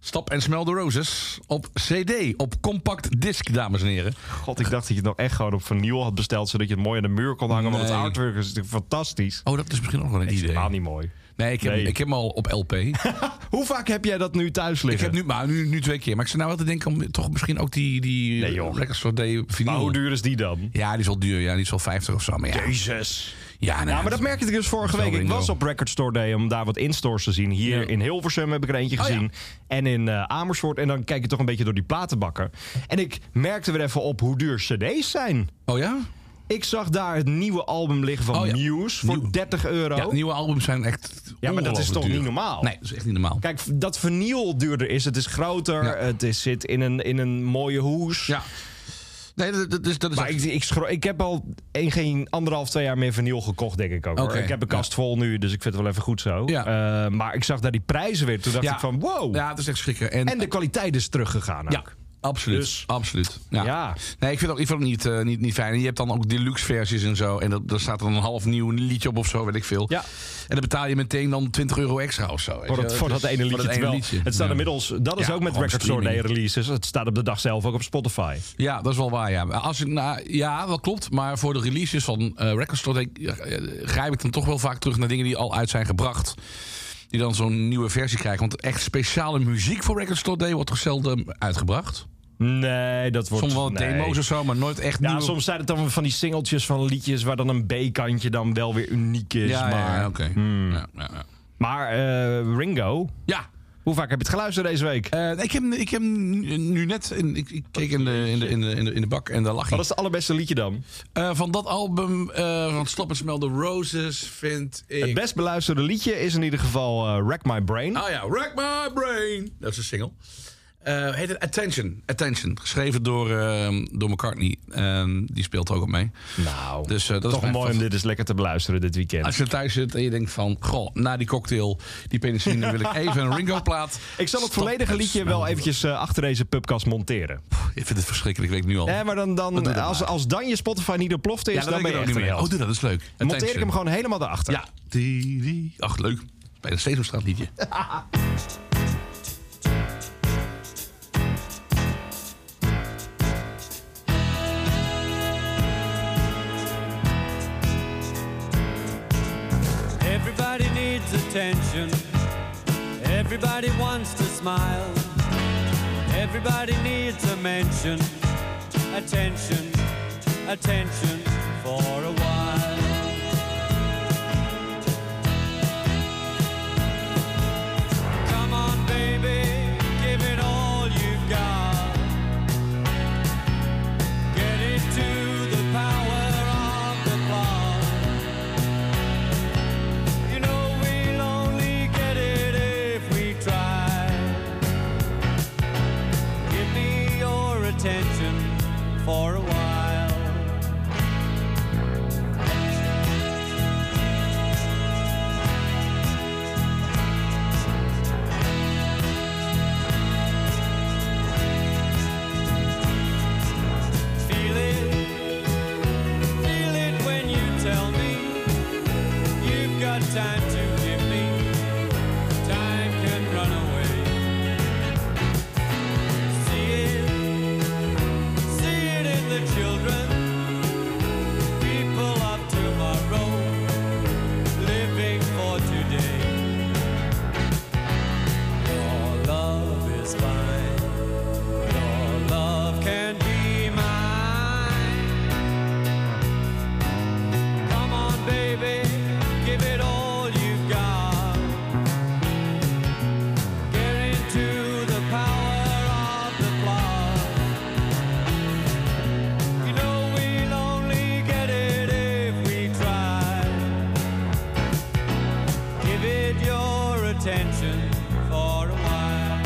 Speaker 4: Stap en Smell the Roses op CD. Op compact disc, dames en heren.
Speaker 3: God, ik dacht dat je het nog echt gewoon op vinyl had besteld... zodat je het mooi aan de muur kon hangen. Want
Speaker 4: Nee.
Speaker 3: het artwork is natuurlijk fantastisch.
Speaker 4: Oh, dat is misschien ook wel een
Speaker 3: Het is
Speaker 4: idee.
Speaker 3: helemaal niet mooi.
Speaker 4: Nee, ik heb,
Speaker 3: Nee.
Speaker 4: Ik heb hem al op LP.
Speaker 3: Hoe vaak heb jij dat nu thuis
Speaker 4: ik
Speaker 3: liggen?
Speaker 4: heb nu, maar nu, nu twee keer. Maar ik zou nou wel te denken om toch misschien ook die, die
Speaker 3: Nee, joh.
Speaker 4: Record Store Day vinyl.
Speaker 3: Maar hoe duur is die dan?
Speaker 4: Ja, die is wel duur. Ja, die is wel 50 of zo. Maar ja,
Speaker 3: Jezus.
Speaker 4: ja, nou,
Speaker 3: Ja, maar dat merkte ik dus vorige
Speaker 4: wel
Speaker 3: week. Ik
Speaker 4: Ringo.
Speaker 3: was op Record Store Day om daar wat instores te zien. Hier
Speaker 4: Ja.
Speaker 3: in Hilversum heb ik er eentje
Speaker 4: Oh, ja.
Speaker 3: gezien. En in eh, Amersfoort. En dan kijk je toch een beetje door die platenbakken. En ik merkte weer even op hoe duur cd's zijn.
Speaker 4: Oh ja?
Speaker 3: Ik zag daar het nieuwe album liggen van
Speaker 4: Oh ja.
Speaker 3: Muse voor
Speaker 4: Nieuw.
Speaker 3: 30 euro.
Speaker 4: Ja, nieuwe albums zijn echt
Speaker 3: Oh. Ja, maar dat is
Speaker 4: ongelooflijk
Speaker 3: toch niet
Speaker 4: duur.
Speaker 3: normaal?
Speaker 4: Nee, dat is echt niet normaal.
Speaker 3: Kijk, v- dat verniel duurder is. Het is groter.
Speaker 4: Ja.
Speaker 3: Het is, zit in een, in een mooie hoes.
Speaker 4: Ja. Nee, dat, dat is... Dat is
Speaker 3: Maar ik,
Speaker 4: echt-
Speaker 3: ik, schro- ik heb al een, geen anderhalf, twee jaar meer verniel gekocht, denk ik ook. hoor.
Speaker 4: Oké,
Speaker 3: Ik heb een kast vol nu, dus ik vind het wel even goed zo.
Speaker 4: Ja.
Speaker 3: Eh, maar ik zag daar die prijzen weer. Toen dacht
Speaker 4: Ja.
Speaker 3: ik van, wow.
Speaker 4: ja, het is echt schrikken. En,
Speaker 3: En de kwaliteit is teruggegaan ook.
Speaker 4: Absoluut,
Speaker 3: Dus-
Speaker 4: absoluut. Ja.
Speaker 3: Ja.
Speaker 4: Nee, ik vind het ook, ik vind het niet, eh, niet, niet fijn. En je hebt dan ook deluxe versies en zo. En dat, daar staat dan een half nieuw liedje op of zo, weet ik veel.
Speaker 3: Ja.
Speaker 4: En dan betaal je meteen dan 20 euro extra of zo. weet
Speaker 3: Voor
Speaker 4: je. Dus
Speaker 3: dat, voor dat ene liedje.
Speaker 4: Voor dat ene
Speaker 3: terwijl
Speaker 4: liedje.
Speaker 3: Het staat
Speaker 4: Ja.
Speaker 3: inmiddels, dat is
Speaker 4: Ja,
Speaker 3: ook met
Speaker 4: gewoon
Speaker 3: Record Store Day
Speaker 4: streaming.
Speaker 3: releases. Het staat op de dag zelf ook op Spotify.
Speaker 4: Ja, dat is wel waar, ja. Maar Als ik, nou, ja, dat klopt. Maar voor de releases van eh Record Store Day, eh, eh, grijp ik dan toch wel vaak terug naar dingen die al uit zijn gebracht. Die dan zo'n nieuwe versie krijgen. Want echt speciale muziek voor Record Store Day wordt toch zelden uitgebracht.
Speaker 3: Nee, dat wordt...
Speaker 4: Soms wel
Speaker 3: nee.
Speaker 4: demo's of zo, maar nooit echt
Speaker 3: Ja,
Speaker 4: nieuwe...
Speaker 3: soms zijn het dan van die singeltjes van liedjes waar dan een B-kantje dan wel weer uniek is.
Speaker 4: Ja, ja,
Speaker 3: maar Hmm.
Speaker 4: ja, oké. Ja, ja, ja.
Speaker 3: maar eh, Ringo,
Speaker 4: Ja,
Speaker 3: hoe vaak heb je het geluisterd deze week?
Speaker 4: eh, ik, heb, ik heb nu net... In, ik, ik keek in de, in, de, in, de, in, de, in de bak en daar lag
Speaker 3: Wat
Speaker 4: ik.
Speaker 3: is het allerbeste liedje dan?
Speaker 4: Eh, van dat album eh, van Stop and Smell the Roses vind ik...
Speaker 3: Het best beluisterde liedje is in ieder geval eh, Wreck My Brain.
Speaker 4: Oh ja, Wreck My Brain. Dat is een single. Eh, heet het Attention. Attention. Geschreven door, ehm, door McCartney. Ehm, die speelt er ook op mee.
Speaker 3: nou,
Speaker 4: Dus, eh, dat is
Speaker 3: toch
Speaker 4: mijn
Speaker 3: mooi om
Speaker 4: vast-
Speaker 3: dit eens lekker te beluisteren dit weekend.
Speaker 4: Als je thuis zit en je denkt van... Goh, na die cocktail, die penicilline wil ik even een Ringo-plaat.
Speaker 3: Ik zal het
Speaker 4: Stop
Speaker 3: volledige
Speaker 4: and
Speaker 3: liedje
Speaker 4: smell
Speaker 3: wel
Speaker 4: the-
Speaker 3: eventjes eh, achter deze pubcast monteren.
Speaker 4: Ik vind het verschrikkelijk, weet ik nu al.
Speaker 3: Nee, maar dan, dan,
Speaker 4: doe dat
Speaker 3: als,
Speaker 4: maar.
Speaker 3: als dan je Spotify niet op plofte is,
Speaker 4: dat
Speaker 3: dan
Speaker 4: weet
Speaker 3: ben
Speaker 4: ik
Speaker 3: je
Speaker 4: ook
Speaker 3: echt een held.
Speaker 4: Oh, doe dat, dat is leuk.
Speaker 3: Monteer ik hem
Speaker 4: Attention.
Speaker 3: gewoon helemaal erachter.
Speaker 4: Ja. Die, die. Ach, leuk. Bij de Sesamstraat liedje.
Speaker 5: Everybody needs attention. Everybody wants to smile. Everybody needs a mention. Attention, attention for a while. Come on, baby, give it all you've got. Get into the power of the bar. You know we'll only get it if we try. Give me your attention for a while. Feel it, feel it when you tell me. You've got time to give me. Time can run away. See it, see it in the children. People of tomorrow, living for today. Your love is mine. Your love can be mine. Come on, baby, give it all you've got. Get into the power of the plot. You know we'll only get it if we try. Give it your attention for a while.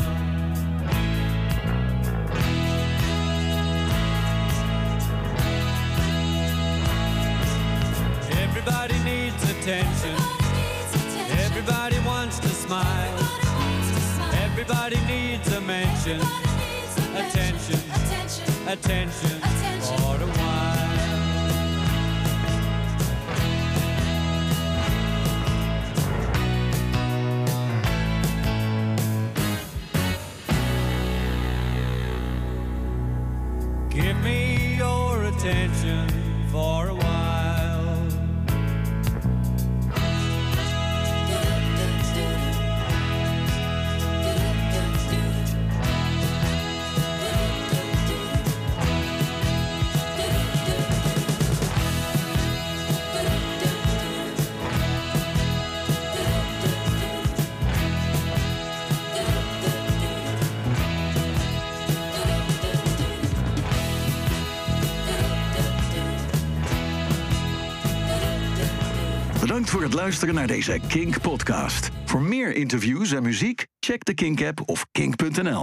Speaker 5: Everybody needs attention. Everybody wants to smile. Everybody needs a mention. Attention. Attention
Speaker 6: Attention.
Speaker 5: for a while. Give me your attention for a while.
Speaker 6: Thank you.
Speaker 1: Bedankt voor het luisteren naar deze Kink podcast. Voor meer interviews en muziek, check de Kink app of kink.nl.